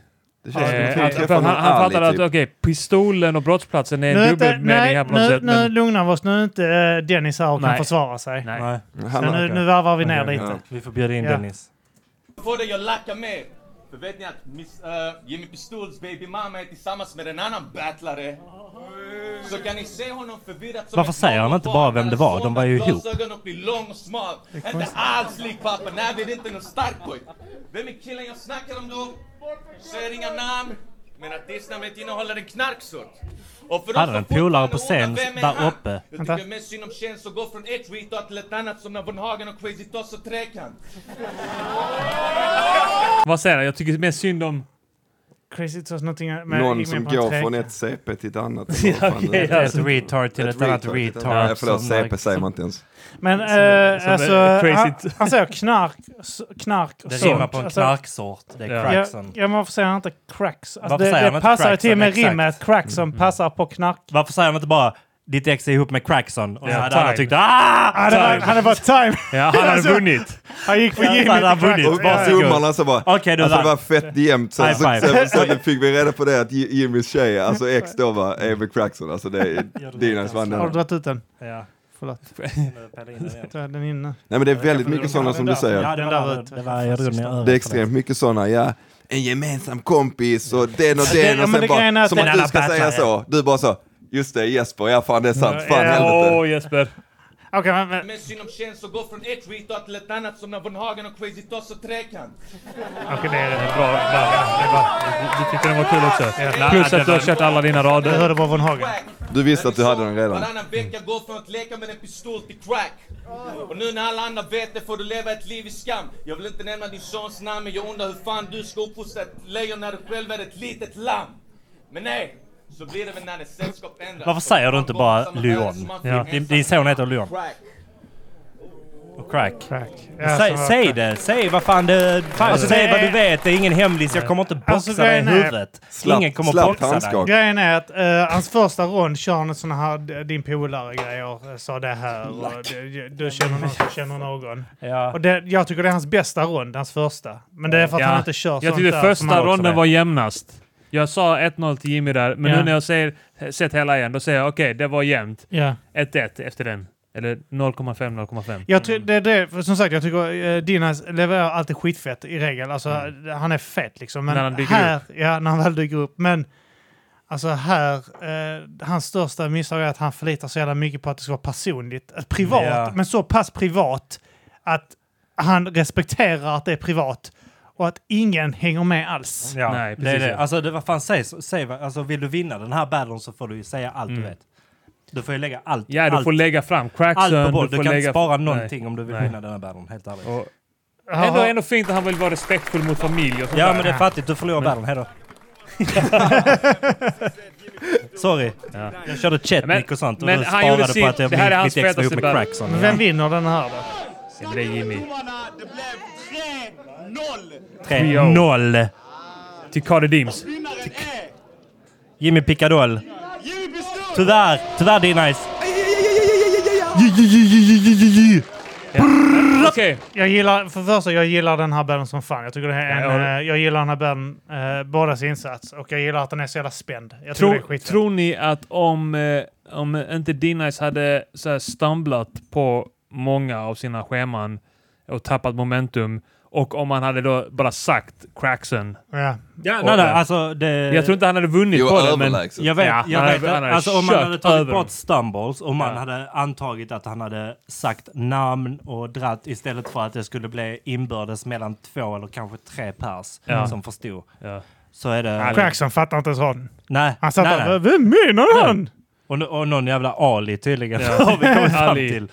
det Eh, känns som att vi att, för träffar han, någon han Ali, fattar att typ. okej, pistolen och brottsplatsen är Nu en är inte- dubbelmening här på något nu, sätt. nu Men, lugnar vi oss. Nu är inte eh, Dennis här och kan Nej. försvara sig. nej. Nej. Han Så har- nu, nu varvar vi ner Okej. lite. Ja. Vi får bjuda in Ja. Dennis. Får dig att lacka med. För vet ni att miss, eh, Jimmy Pistols baby mama är tillsammans med en annan battlare. Så kan ni se honom förvirrat som Varför ett säger han barn inte bara vem det var? Han De var ju har ihop. Glasögon och blir lång och smal. Inte alls lik pappa. Nej, det är inte någon stark pojk. Vem är killen jag snackar om då? Säger inga namn. Men artistnamnet innehåller en knarksort. Och för de Hade som en polare på fortfarande undrar, scen vem är där han? uppe. Jag Vänta. tycker mest synd om tjejen som går från ett retard till ett annat som när Von Hagen och Crazy Toss och Trekant. Vad säger han? Jag tycker mest synd om... Crazy Toss, någonting med Någon gick med som på en går träk. från ett CP till ett annat. eller vad fan det är. Ett retard till Ett ett annat retard till ett retard. annat. Ja, förlåt, som- CP säger man inte ens. Men eh, som alltså, är crazy han, t- han säger knark, s- knark och Det sånt. rimmar på en Alltså, knarksort. Det Ja. är Ja, cracksen. ja, men varför säger han inte cracks? Alltså, det Varför säger han det inte passar ju crackson? till med Exakt. rimmet. Crackson passar på knark. Varför säger man inte bara ditt ex är ihop med Crackson? Och Ja, så hade time. alla tyckt ah! Han är, Time. han är bara time. Ja, han hade Alltså- vunnit. Han gick för Ja, Jimmy han har till crack. vunnit. Och bara Ja, ja. domarna så bara, Okej, du alltså det vann. var fett jämnt. Sen, High så, five. sen, sen, fick vi reda på det att Ji- Jimmys tjej, alltså ex då var Amy Crackson, alltså det är Dinas vann Har du den. dragit ut den? Ja. Förlåt, Ja, ta den inne. Nej men det är väldigt mycket sådana som du säger. det Den var där det. var jag drog ner Det är över. extremt mycket sådana, ja. En gemensam kompis och den och det- den ja, och men det sen grejen är bara, att som den att du alla ska säga battlare. så. Du bara så, just det Jesper, ja fan det är sant, Ja, fan ja. helvete. Eh, Åh, Jesper. Okej, men, men, Mest synd om tjejen som går från ett retard till ett annat som när Von Hagen och Crazy Toss och Trekant. okej, det är det. Bra, bra, bra. Du tyckte den var kul också. Plus att du har kört alla dina Jag rader. hörde bara Von Hagen. Crack. Du visste att du hade den redan. Varannan vecka går från att leka med en pistol till crack. Och nu när alla andra vet det får du leva ett liv i skam. Jag vill inte nämna din sons namn men jag undrar hur fan du ska uppfostra ett lejon när du själv är ett litet lamm. Men nej, så blir det väl när ett sällskap ändras. Varför säger du inte bara Leon? Ja. Din, din son heter Leon. Crack. Och Crack. Crack. Alltså, Säg, säg det! Säg vad fan du... Fan, Alltså, säg det vad är- du vet! Det är ingen hemlis. Jag kommer inte boxa Alltså, dig i grejen är- huvudet. Slapp, ingen kommer slapp boxa dig. handskak. Grejen är att eh, hans första rond kör han såna här d- din polare-grejer. eh, Sa det här och du, du känner någon som känner någon. Ja. Och det, jag tycker det är hans bästa rond, hans första. Men det är för att han Ja. inte kör sånt Jag tyckte där som första han också ronden vet. var jämnast. Jag sa 1-0 till Jimmy där, men Ja. nu när jag säger, sett hela igen, då säger jag okej, det var jämnt. Ja. 1-1 efter den. Eller 0,5, 0,5. Jag ty- det, det, för som sagt, jag tycker eh, Dinas levererar alltid skitfett i regel. Alltså, Han är fet liksom. Men Mm. När han dyker här, Ja, när han väl dyker upp. Men alltså här, eh, hans största misstag är att han förlitar sig jävla mycket på att det ska vara personligt. Att privat, Ja. men så pass privat att han respekterar att det är privat och att ingen hänger med alls. Ja, Nej, det är precis, det. ja. Alltså, det, vad fan sägs? Säg, vad- alltså, vill du vinna den här battlen så får du ju säga allt du vet. Du får ju lägga allt, Mm. Ja, du allt, får lägga fram allt cracksen. på bordet. Du, får kan lägga inte spara Nej. någonting om du vill Nej. vinna den här battlen, helt ärligt. Och ändå, Jaha. ändå fint att han vill vara respektfull mot familj och sånt Ja, där. men det är fattigt. Du förlorar battlen. Hejdå. Sorry. Ja. Jag körde Chetnik Men- och sånt och men du han sparade gjorde på sitt. att jag, Det här är mitt, hans mitt ex var ihop fetaste med battle. Crackson. Men Vem vinner den här då? Det blir Jimmy. Det blev 3-0. 3-0. Till Cardi Dims. Vinnaren är Jimmy Picadoll. Jimmy Pistol! Tyvärr, tyvärr D-Nice. Okej. Jag gillar, för det första, jag gillar den här banden som fan. Jag tycker det här är Ja, en, jag eh, jag gillar den här banden, eh, bådas insats. Och jag gillar att den är så jävla spänd. Jag tror, det är Tror, skitfett. tror ni att om, eh, om inte D-Nice hade så här stumblat på många av sina scheman och tappat momentum och om han hade då bara sagt cracksen. Ja. Ja, nej, nej, nej, nej, alltså det... Jag tror inte han hade vunnit Jo, på det, men... överlägset. Jag vet, Ja, jag han vet. hade- han hade alltså om man kört hade tagit över dem. bort stumbles och man Ja. hade antagit att han hade sagt namn och dratt istället för att det skulle bli inbördes mellan två eller kanske tre pers Ja. som förstod. Ja. Så är det... Crackson fattar inte ens vad den. Nej, Han satt nej, där, nej. vem menar han? Och, nu- och någon jävla Ali tydligen Ja. har vi kommit fram Ali. till. Uh,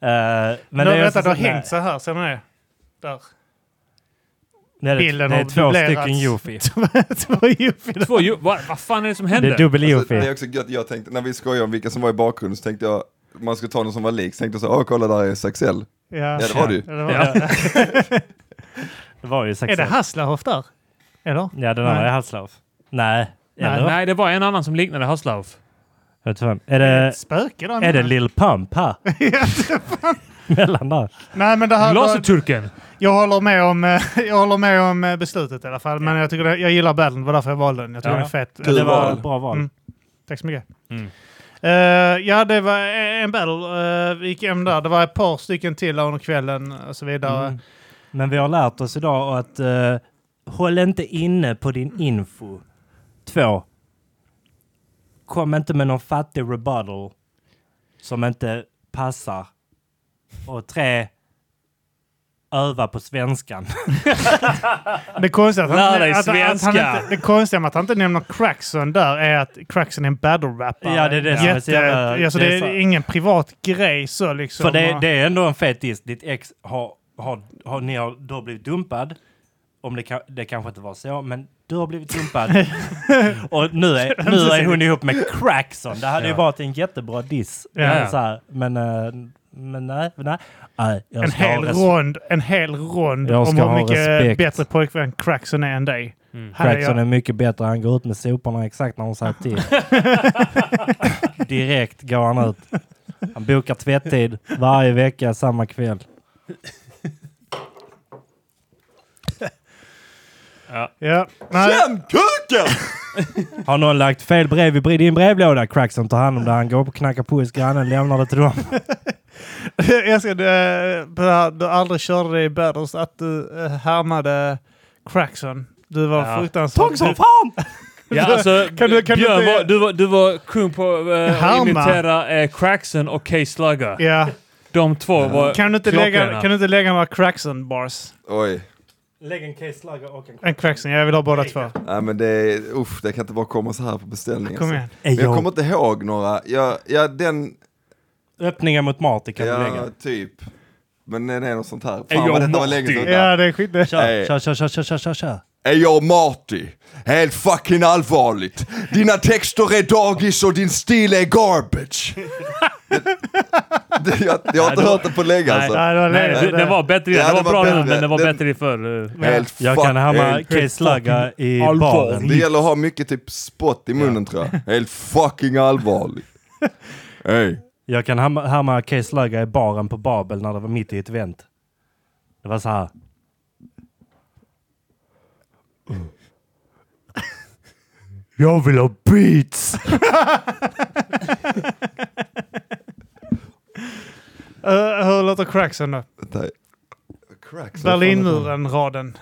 men Men det, också vänta, det har så- nej. hängt så här, ser ni det? Där. Nej, det, Bilden det är har två dubblerats. stycken Jofi. Det var ju fel. Två ju, vad, vad fan är det som Det händer? är dubbel Alltså, det är Jofi. också gött, jag tänkte, när vi skojade om vilka som var i bakgrunden så tänkte jag, man skulle ta någon som var lik, så tänkte jag så, åh kolla där är Saxell. Ja, Ja det var du. det var- Ja. Det var ju Är sexigt. det Hasselhoff där? Eller? Ja, den andra Nej. är Halslauf. Nej. Eller? Nej, Nej, det var en annan som liknade Haslauf. Jag vet fan. Är det... Ett spöke där Är det nere. Lil Pump här? Mellan där? Nej, men det här... Laserturken! Jag håller med om, eh, jag håller med om eh, beslutet i alla fall. Men jag, tycker det, jag gillar battlen, det var därför jag valde den. Jag tycker Ja. den är fet. Kul Det var val. ett bra val. Mm. Tack så mycket. Mm. Eh, ja, det var e- en battle. eh, vi gick hem där. Det var ett par stycken till under kvällen och så vidare. Mm. Men vi har lärt oss idag att eh, håll inte inne på din info. Två. Kom inte med någon fattig rebuttal som inte passar. Och tre. Öva på svenskan. Det, konstiga att Lär han, dig att, att han svenska. inte, det konstiga med att han inte nämner Crackson där är att Crackson är en battle-rappare. Ja, det är det som är så jävla- alltså, det det är är så. ingen privat grej så liksom. För det, Och- det är ändå en fet diss. Ditt ex har, har, har, ni har då blivit dumpad. Om det, kan, det kanske inte var så, men du har blivit dumpad. och nu är, nu är hon ihop med Crackson. Det hade ju Ja. varit en jättebra diss. Ja, ja. Så här, men, eh, men nej. nej. nej jag En ska ha hel, res- rond, en hel rond Jag om ska hur ha mycket respekt. bättre pojkvän Crackson är än dig. Hade Crackson jag- är mycket bättre. Han går ut med soporna exakt när hon säger till. Direkt går han ut. Han bokar tvättid varje vecka, samma kväll. Ja. Nej, Har någon lagt fel brev i din brevlåda? Crackson tar hand om det. Han går upp och knackar på hos grannen, lämnar det till dem. jag älskar det, på det här, du aldrig körde det i Battles, att du eh, härmade Crackson. Du var Ja. fruktansvärt... Du- fan! Ja, alltså, Kan du- kan du Björn, inte- var, du, var, du var kung på eh, att Härma. imitera eh, Crackson och K-Slugger. Ja. De två var Kan, du inte lägga, klockrena. kan du inte lägga några Crackson-bars? Oj, Lägg en case och en En Crackson, jag vill ha båda två. nej men det är, uff, det kan inte bara komma så här på beställning. Kom alltså. igen. Men jag kommer inte ihåg några, jag, ja den, Öppningar mot Marty kan du ja lägga. typ, men det är något sånt här. Är Fan jag vad detta var länge Marty? sedan. Ja, det är skit det. Kör, Nej. kör, kör, kör, kör, kör, kör, kör. Är jag Marty? Helt fucking allvarligt. Dina texter är dagis och din stil är garbage. Det- jag, jag har inte hört det på länge Nej, alltså. Ja, det var Nej, lätt. det, det var bättre Ja, det, var det var bra nu, bättre. men det var Den- bättre i förr. Helt Jag fuck- kan hamma helt- case i allvarligt. baren. Alltså, Det gäller att ha mycket typ spott i munnen tror jag. Helt fucking allvarligt. Hej. Jag kan hamma- hamma case i baren på Babel när det var mitt i ett event. Det var så här. Jag vill ha beats! Eh, hur låter Crackson då? Vänta. Cracks, vad fan heter den? Berlinmuren-raden.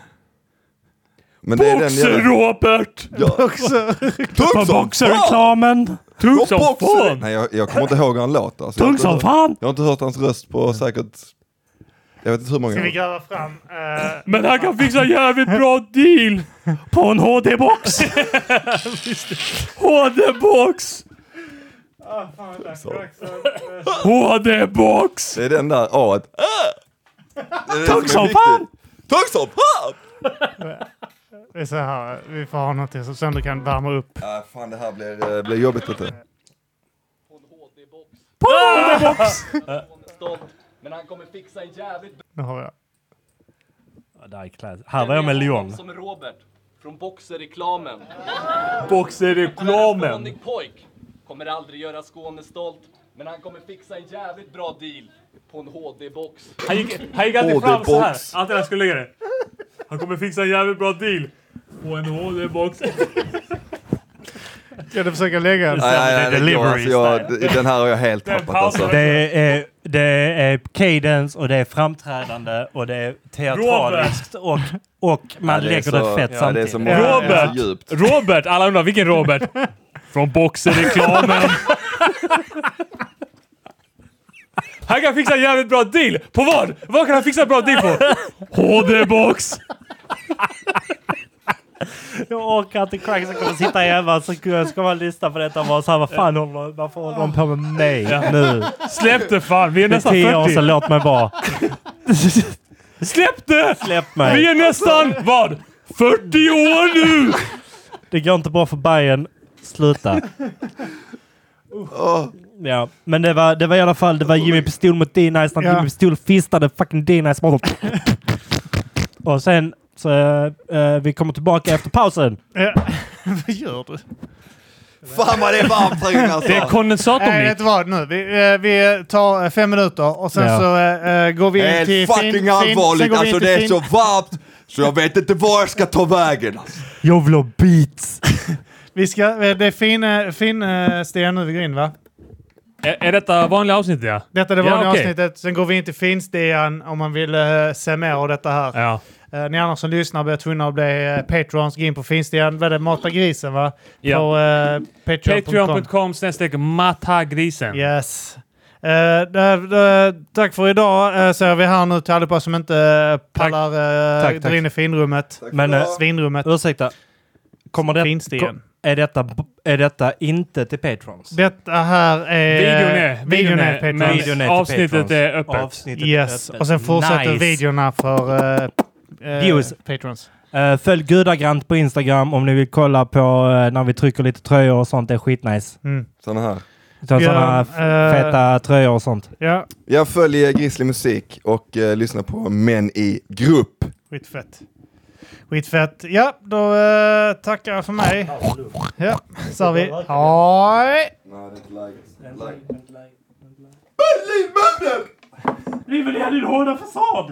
Men det är den jävla... Robert! Ja. Också. På Tungsson! boxerreklamen! Tung som Boxer! fan! Nej jag, jag kommer inte ihåg hur han låter. Alltså, jag, har Tung inte som hört- fan! jag har inte hört hans röst på säkert Jag vet inte hur många. Ska vi gräva fram? eh, Men han kan fixa en jävligt bra deal! På en HD-box! HD-box! HD-box! Det är den där A. Äh! Tack som fan! Tack som fan! det är så här, vi får ha någonting som sen du kan värma upp. Ja, fan det här blir, eh, blir jobbigt vet du. Men han kommer fixa en jävligt bra Nu har jag. Ja, det här, är klass. här var jag med Lyon. som Robert från Boxer-reklamen. Boxerreklamen! Kunnig pojk. Kommer aldrig göra Skåne stolt. Men han kommer fixa en jävligt bra deal på en HD-box. Han gick, han gick alltid HD fram så här. box. Alltid när han skulle lägga det. Han kommer fixa en jävligt bra deal. På en HD-box. Ska du försöka lägga den? Nej, nej, nej, det går. Delivery Alltså, jag, d- den här har jag helt tappat alltså. pausar. Det är, det är cadence och det är framträdande och det är teatraliskt och, och man Ja, det är lägger det så- fett Alltså, ja, det är samtidigt. så många, det är Robert! så djupt. Robert! Alla undrar vilken Robert? Från Boxerreklamen. Han kan fixa en jävligt bra deal. På vad? Vad kan han fixa en bra deal på? HD-box! Jag orkar inte crack som kommer sitta hemma så jag ska bara lyssna på detta och vara såhär, vad fan håller de, varför håller de på med mig nu? Släpp det fan! Vi är Det är nästan tio år sedan, 40. låt mig vara. Släpp det! Släpp Vi mig. är nästan, vad? 40 år nu! Det går inte bra för Bayern. Sluta. Ja, men det var, det var i alla fall det var Jimmy Pistol mot D-Nice när Ja. Jimmy Pistol fistade fucking D-Nice bara så- Och sen så eh, vi kommer tillbaka efter pausen. Ja. Vad gör du? Fan vad det är varmt här inne alltså. Det är Nej, kondensatormick. vet du vad? Nu, vi, eh, vi tar eh, fem minuter och sen Ja. så eh, eh, går vi in Helt till fucking fin, allvarligt fin, sen går vi in alltså till det är fin. så varmt så jag vet inte var jag ska ta vägen alltså. Jag vill ha beats! Vi ska, eh, det är fin, eh, fin eh, Sten nu vi går in va? Är, är detta vanliga avsnitt ja? Detta det Ja, vanliga okej. avsnittet. Sen går vi in till finstean om man vill eh, se mer av detta här. Ja. Eh, ni andra som lyssnar blir tvungna att bli eh, patrons. Gå in på finstean. Vad är det? Mata grisen va? Ja. På eh, patreon.com. Patreon.com snedstreck matagrisen. Yes. Eh, där- eh, tack för idag uh, säger vi här nu till allihopa som inte eh, pallar uh, Tack, tack. dra in i finrummet. Men eh, Svinrummet. ursäkta, kommer det, Finsten. ko- är, detta, b- är detta inte till Patrons? Detta här är... Videon är, videon är Patreon. men Videon är till avsnittet Patrons. är öppet. Avsnittet Yes, är öppet. och sen fortsätter Nice. videorna för eh, eh, Views. patrons. Eh, följ Gudagrant på Instagram om ni vill kolla på eh, när vi trycker lite tröjor och sånt. Det är skitnice. Mm. Såna här. Så, Björn, såna f- eh, feta tröjor och sånt. Ja, Jag följer Grizzly Musik och eh, lyssnar på Män i Grupp. skitfett. Skitfett. Ja, då eh, tackar jag för mig. Ja, så har vi. Hej! Nej, det är inte läget. River ner din hårda fasad!